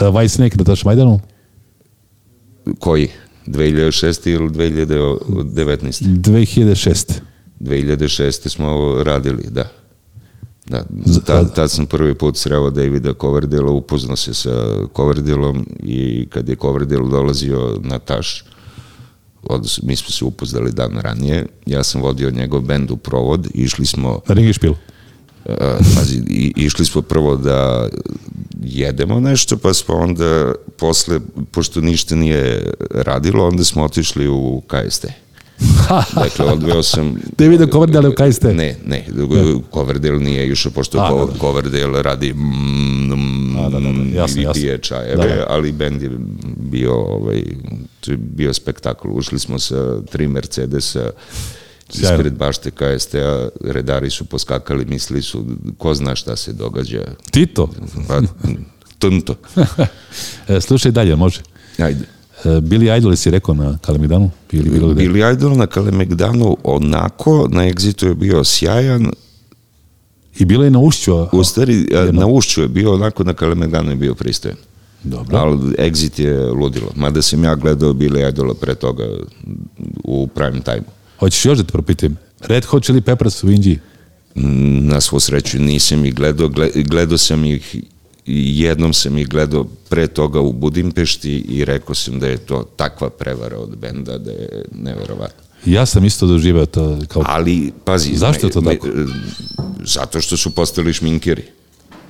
[SPEAKER 2] e, White Snake na Taš Majdanu,
[SPEAKER 3] Koji? 2006. ili 2019.
[SPEAKER 2] 2006.
[SPEAKER 3] 2006. smo ovo radili, da. Da, tad, tad sam prvi put sreo Davida Coverdela, upoznao se sa Coverdelom i kad je Coverdel dolazio na Taš, odnosno, mi smo se upoznali dan ranije, ja sam vodio njegov bend u provod, išli smo
[SPEAKER 2] Na ringi špilu.
[SPEAKER 3] Uh, pazi, i, išli smo prvo da jedemo nešto, pa smo onda posle, pošto ništa nije radilo, onda smo otišli u KST. Dakle, odveo sam...
[SPEAKER 2] Te vidio Coverdale u KST?
[SPEAKER 3] Ne, ne, Coverdale nije išao, pošto
[SPEAKER 2] A,
[SPEAKER 3] Co-
[SPEAKER 2] da, da.
[SPEAKER 3] Coverdale radi mm, mm,
[SPEAKER 2] A, da, da, da, jasno,
[SPEAKER 3] i
[SPEAKER 2] jasno.
[SPEAKER 3] pije čajeve,
[SPEAKER 2] Da, da.
[SPEAKER 3] ali bend je bio, ovaj, to je bio spektakl. Ušli smo sa tri Mercedesa,
[SPEAKER 2] Sjajno.
[SPEAKER 3] ispred bašte KST-a, redari su poskakali, mislili su, ko zna šta se događa.
[SPEAKER 2] Tito.
[SPEAKER 3] Pa, tunto.
[SPEAKER 2] E, slušaj dalje, može.
[SPEAKER 3] Ajde.
[SPEAKER 2] E, Billy Idol si rekao na Kalemidanu? Ili bilo gde?
[SPEAKER 3] Billy Idol na Kalemegdanu onako, na egzitu je bio sjajan,
[SPEAKER 2] I bilo je na ušću. a-
[SPEAKER 3] u stvari a,
[SPEAKER 2] jedno.
[SPEAKER 3] na ušću je bio onako, na Kalemegdanu je bio pristojan.
[SPEAKER 2] Dobro.
[SPEAKER 3] Ali exit je ludilo. Mada sam ja gledao Billy Idola pre toga u prime time.
[SPEAKER 2] Hoćeš još da te propitim? Red Hot Chili Peppers u Indiji.
[SPEAKER 3] Mm, Na svu sreću nisam ih gledao. Gle- Gledao sam ih i jednom sam ih gledao pre toga u Budimpešti i rekao sam da je to takva prevara od benda da je neverovatno.
[SPEAKER 2] Ja sam isto doživeo to kao...
[SPEAKER 3] Ali, pazi...
[SPEAKER 2] Zašto je to
[SPEAKER 3] me-
[SPEAKER 2] tako?
[SPEAKER 3] me- Zato što su postali šminkeri.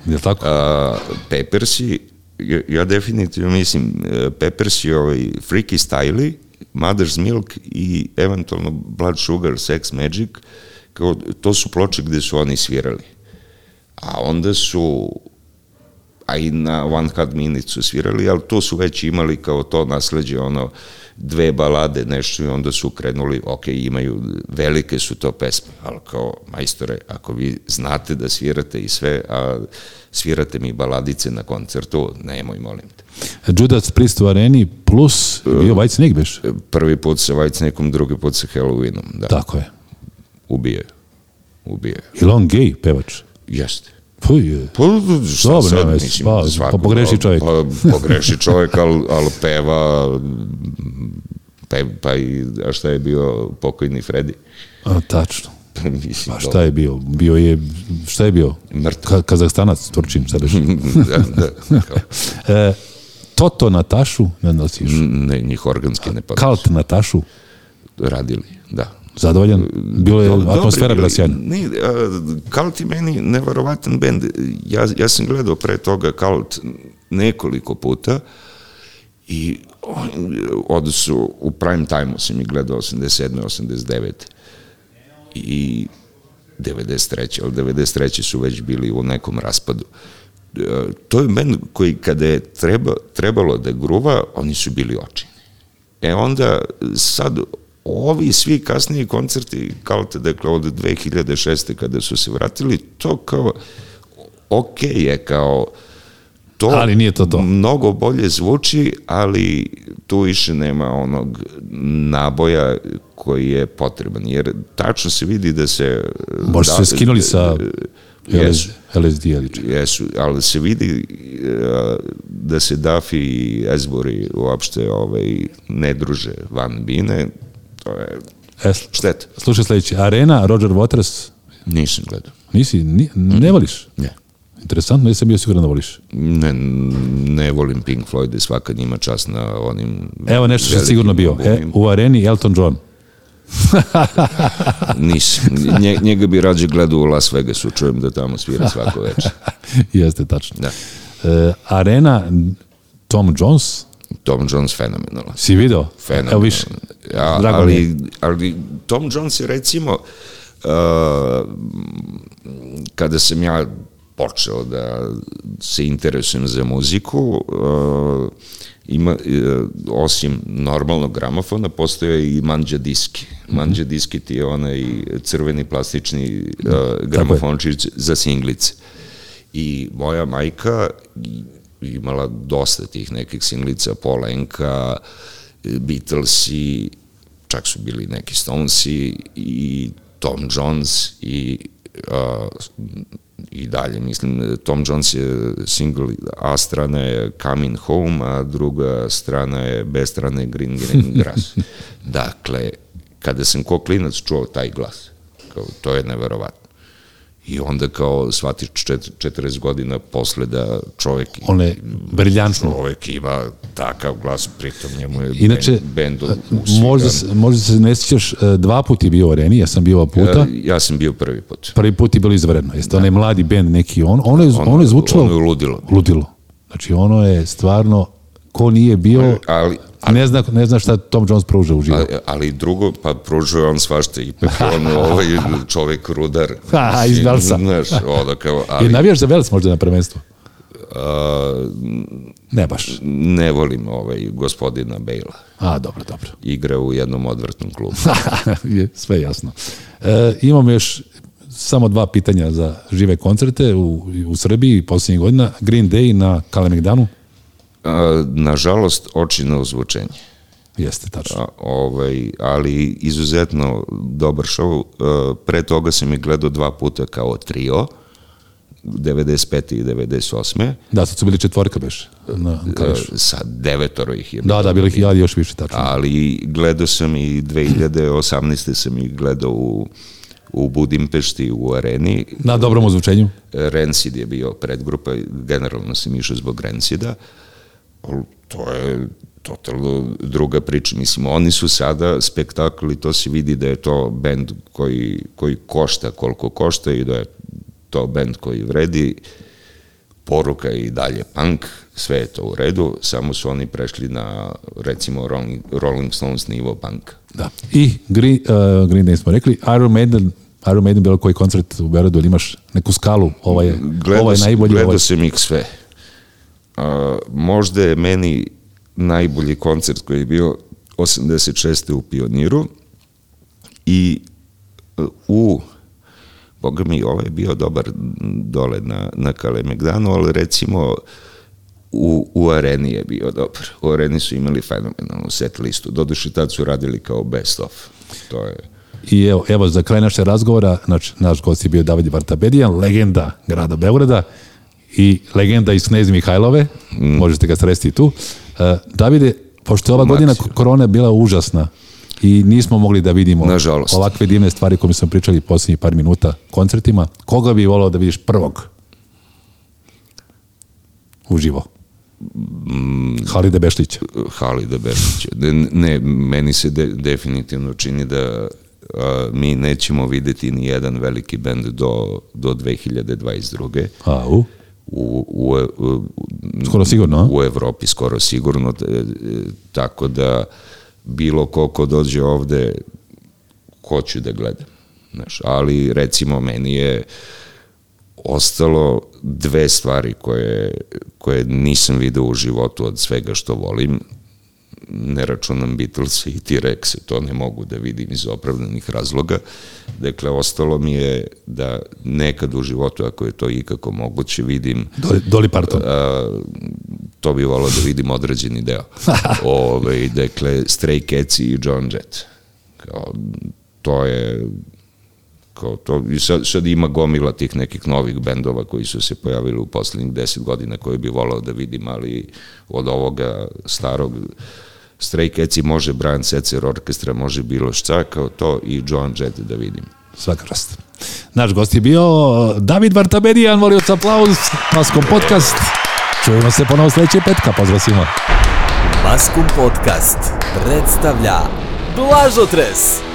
[SPEAKER 2] Jel tako?
[SPEAKER 3] A, Peppersi, ja- ja definitivno mislim, e, Peppersi, ovaj, Freaky Styley, Mother's Milk i eventualno Blood Sugar, Sex Magic, kao, to su ploče gde su oni svirali. A onda su a i na One Hard Minute su svirali, ali to su već imali kao to nasleđe, ono, dve balade, nešto i onda su krenuli, ok, imaju, velike su to pesme, ali kao, majstore, ako vi znate da svirate i sve, a svirate mi baladice na koncertu, nemoj, molim te.
[SPEAKER 2] Judas Priest u areni plus bio White Snake beš.
[SPEAKER 3] Prvi put sa Whitesnakeom, drugi put sa Halloweenom, da,
[SPEAKER 2] Tako je.
[SPEAKER 3] ubije, ubije,
[SPEAKER 2] Ili on gej pevač.
[SPEAKER 3] jeste.
[SPEAKER 2] Fuj, e,
[SPEAKER 3] Pa, šta
[SPEAKER 2] Dobro,
[SPEAKER 3] sad,
[SPEAKER 2] nema veze,
[SPEAKER 3] mislim,
[SPEAKER 2] pa,
[SPEAKER 3] svako-
[SPEAKER 2] pa pogreši čovjek.
[SPEAKER 3] Pa, pogreši čovjek, ali al peva, pa, pa i, a šta je bio pokojni Freddy?
[SPEAKER 2] a, tačno.
[SPEAKER 3] mislim,
[SPEAKER 2] Pa šta je bio? Bio je, šta je bio?
[SPEAKER 3] Mrtav.
[SPEAKER 2] Ka- Kazahstanac, Turčin, šta beš?
[SPEAKER 3] da, da, kao,
[SPEAKER 2] E, Toto Natašu, ne znam da li si išao.
[SPEAKER 3] ne, njih organski ne Mm, pa
[SPEAKER 2] Kalt Natašu,
[SPEAKER 3] radili, da.
[SPEAKER 2] zadovoljan? Bilo je,
[SPEAKER 3] Dobro,
[SPEAKER 2] atmosfera bila
[SPEAKER 3] bili-
[SPEAKER 2] sjajna.
[SPEAKER 3] Ne, a, Kalt je meni nevarovatan bend. Ja, ja sam gledao pre toga Kalt nekoliko puta i on- odnosno u prime time sam ih gledao 87. 89. i 93. ali 93. su već bili u nekom raspadu. E, To je bend koji kada je treba, trebalo da gruva, oni su bili očini. E onda sad ovi svi kasniji koncerti Kalte, dakle od 2006. kada su se vratili, to kao ok je kao to
[SPEAKER 2] Ali nije to to.
[SPEAKER 3] mnogo bolje zvuči, ali tu više nema onog naboja koji je potreban, jer tačno se vidi da se...
[SPEAKER 2] Možda su
[SPEAKER 3] da- e,
[SPEAKER 2] se skinuli sa
[SPEAKER 3] Jesu.
[SPEAKER 2] LSD, ali če-
[SPEAKER 3] Jesu, ali se vidi e, da se Dafi i Esbori uopšte ovaj, ne druže van Bine, to je
[SPEAKER 2] E, sl-
[SPEAKER 3] šteta.
[SPEAKER 2] Slušaj sledeći, Arena, Roger Waters,
[SPEAKER 3] Nisam gledao.
[SPEAKER 2] nisi, ni-
[SPEAKER 3] Mm.
[SPEAKER 2] ne voliš?
[SPEAKER 3] Ne.
[SPEAKER 2] Interesantno, nisam bio siguran da voliš.
[SPEAKER 3] Ne, ne volim Pink Floyd, svaka njima čast na onim...
[SPEAKER 2] Evo nešto što si
[SPEAKER 3] velikim
[SPEAKER 2] sigurno bio. E,
[SPEAKER 3] albumima.
[SPEAKER 2] u areni Elton John.
[SPEAKER 3] Nisam. Nje- njega bi rađe gledao u Las Vegasu, čujem da tamo svira svako večer.
[SPEAKER 2] Jeste, tačno.
[SPEAKER 3] Da.
[SPEAKER 2] E, arena Tom Jones,
[SPEAKER 3] Tom Jones fenomenalan.
[SPEAKER 2] si video?
[SPEAKER 3] Fenomenalno.
[SPEAKER 2] Evo više.
[SPEAKER 3] Ja,
[SPEAKER 2] Drago mi je.
[SPEAKER 3] ali, ali Tom Jones je recimo uh, kada sam ja počeo da se interesujem za muziku uh, ima, uh, osim normalnog gramofona postoje i manđa diski
[SPEAKER 2] Mhm.
[SPEAKER 3] manđa diski ti je onaj crveni plastični uh, gramofončić za singlice i moja majka imala dosta tih nekih singlica, Paul Enka, Beatlesi, čak su bili neki Stonesi i Tom Jones i a, i dalje, mislim, Tom Jones je single, A strana je Coming Home, a druga strana je, B strana je Green Green Grass. dakle, kada sam ko klinac čuo taj glas, kao, to je neverovatno I onda kao shvatiš čet- 40 godina posle da čovek
[SPEAKER 2] On je briljantno.
[SPEAKER 3] čovek ima takav glas, pritom njemu je
[SPEAKER 2] Inače, e,
[SPEAKER 3] bend, bend
[SPEAKER 2] možda, se- možda se ne sjećaš, e, dva puta je bio u areni, ja sam bio dva puta.
[SPEAKER 3] Ja sam bio prvi put.
[SPEAKER 2] Prvi put je bilo izvredno. Jeste onaj mladi bend neki, on, ono, je, ono, je zvučalo...
[SPEAKER 3] ono je ludilo.
[SPEAKER 2] Ludilo. Znači, ono je stvarno, ko nije bio,
[SPEAKER 3] Ali,
[SPEAKER 2] ne, zna, ne zna šta Tom Jones pruža u životu.
[SPEAKER 3] ali, ali drugo, pa pružuje on svašta i on ovaj čovek rudar.
[SPEAKER 2] Ha, iz Velsa.
[SPEAKER 3] Znaš, ono kao,
[SPEAKER 2] I
[SPEAKER 3] ali
[SPEAKER 2] navijaš za Vels možda na prvenstvu?
[SPEAKER 3] a,
[SPEAKER 2] Ne baš.
[SPEAKER 3] ne volim ovaj gospodina Bejla.
[SPEAKER 2] A, dobro, dobro.
[SPEAKER 3] Igra u jednom odvrtnom klubu.
[SPEAKER 2] Je, Sve jasno. E, imam još samo dva pitanja za žive koncerte u, u Srbiji posljednjih godina. Green Day na Kalemegdanu.
[SPEAKER 3] A, nažalost, očino ozvučenje.
[SPEAKER 2] Jeste, tačno.
[SPEAKER 3] A, ovaj, ali izuzetno dobar šov. E, Pre toga sam ih gledao dva puta kao trio, 95. i 98.
[SPEAKER 2] Da, sad su bili četvorka beš. Na,
[SPEAKER 3] E,
[SPEAKER 2] Kalešu.
[SPEAKER 3] Sa devetoro ih je bilo.
[SPEAKER 2] da, da, bili ih ja još više tačno.
[SPEAKER 3] Ali gledao sam i 2018. sam ih gledao u, u Budimpešti u areni.
[SPEAKER 2] Na dobrom ozvučenju.
[SPEAKER 3] Rensid je bio predgrupa, generalno sam išao zbog Rensida, ali to je totalno druga priča. Mislim, oni su sada spektakl i to se vidi da je to bend koji, koji košta koliko košta i da je to bend koji vredi. Poruka je i dalje punk, sve je to u redu, samo su oni prešli na, recimo, Rolling, Rolling Stones nivo punka.
[SPEAKER 2] Da. I Green, uh, Green Day smo rekli. Iron Maiden, Iron Maiden bilo koji koncert u Beogradu ili imaš neku skalu, ovaj je,
[SPEAKER 3] gledao,
[SPEAKER 2] ovaj je
[SPEAKER 3] sam-
[SPEAKER 2] najbolji,
[SPEAKER 3] gledao
[SPEAKER 2] ovaj.
[SPEAKER 3] sam ih sve. A, možda je meni najbolji koncert koji je bio 86. u Pioniru i e, u Boga mi, ovaj je bio dobar dole na, na Kalemegdanu, ali recimo u, u areni je bio dobar. U areni su imali fenomenalnu set listu. Doduše tad su radili kao best of. To je...
[SPEAKER 2] I evo, evo, za kraj naše razgovora, naš, naš gost je bio David Vartabedijan, legenda grada Beograda i legenda iz Knez Mihajlove,
[SPEAKER 3] Mm.
[SPEAKER 2] možete ga sresti i tu. E, Davide, pošto je ova godina korone bila užasna i nismo mogli da vidimo
[SPEAKER 3] Nažalost.
[SPEAKER 2] ovakve divne stvari koje smo pričali posljednjih par minuta koncertima, koga bi volao da vidiš prvog? Uživo.
[SPEAKER 3] Mm.
[SPEAKER 2] Halide Bešlića.
[SPEAKER 3] Halida Berlića. Ne, ne, meni se de, definitivno čini da a, mi nećemo videti ni jedan veliki bend do, do 2022.
[SPEAKER 2] Au.
[SPEAKER 3] U, u, u,
[SPEAKER 2] Skoro sigurno, a?
[SPEAKER 3] u Evropi skoro sigurno, t- e, tako da bilo ko ko dođe ovde, hoću da gledam. Znaš, ali recimo meni je ostalo dve stvari koje, koje nisam video u životu od svega što volim. Ne računam Beatles i T-Rex, to ne mogu da vidim iz opravdanih razloga. Dakle, ostalo mi je da nekad u životu, ako je to ikako moguće, vidim
[SPEAKER 2] Doli, Dolly Parton.
[SPEAKER 3] a, E, to bi volao da vidim određeni deo. Ove, dakle, Stray Cats i John Jett. Kao, to je kao to, i sad, sad ima gomila tih nekih novih bendova koji su se pojavili u poslednjih deset godina koje bi volao da vidim, ali od ovoga starog Stray Cats i može Brian Setzer orkestra, može bilo šta, kao to i John Jett da vidim.
[SPEAKER 2] Svaka čast. Naš gost je bio uh, David Bartabedijan, molio se aplauz, Paskom podcast. Čujemo se ponovo sledećeg petka, pozdrav svima.
[SPEAKER 1] Maskum Podcast predstavlja Blažotres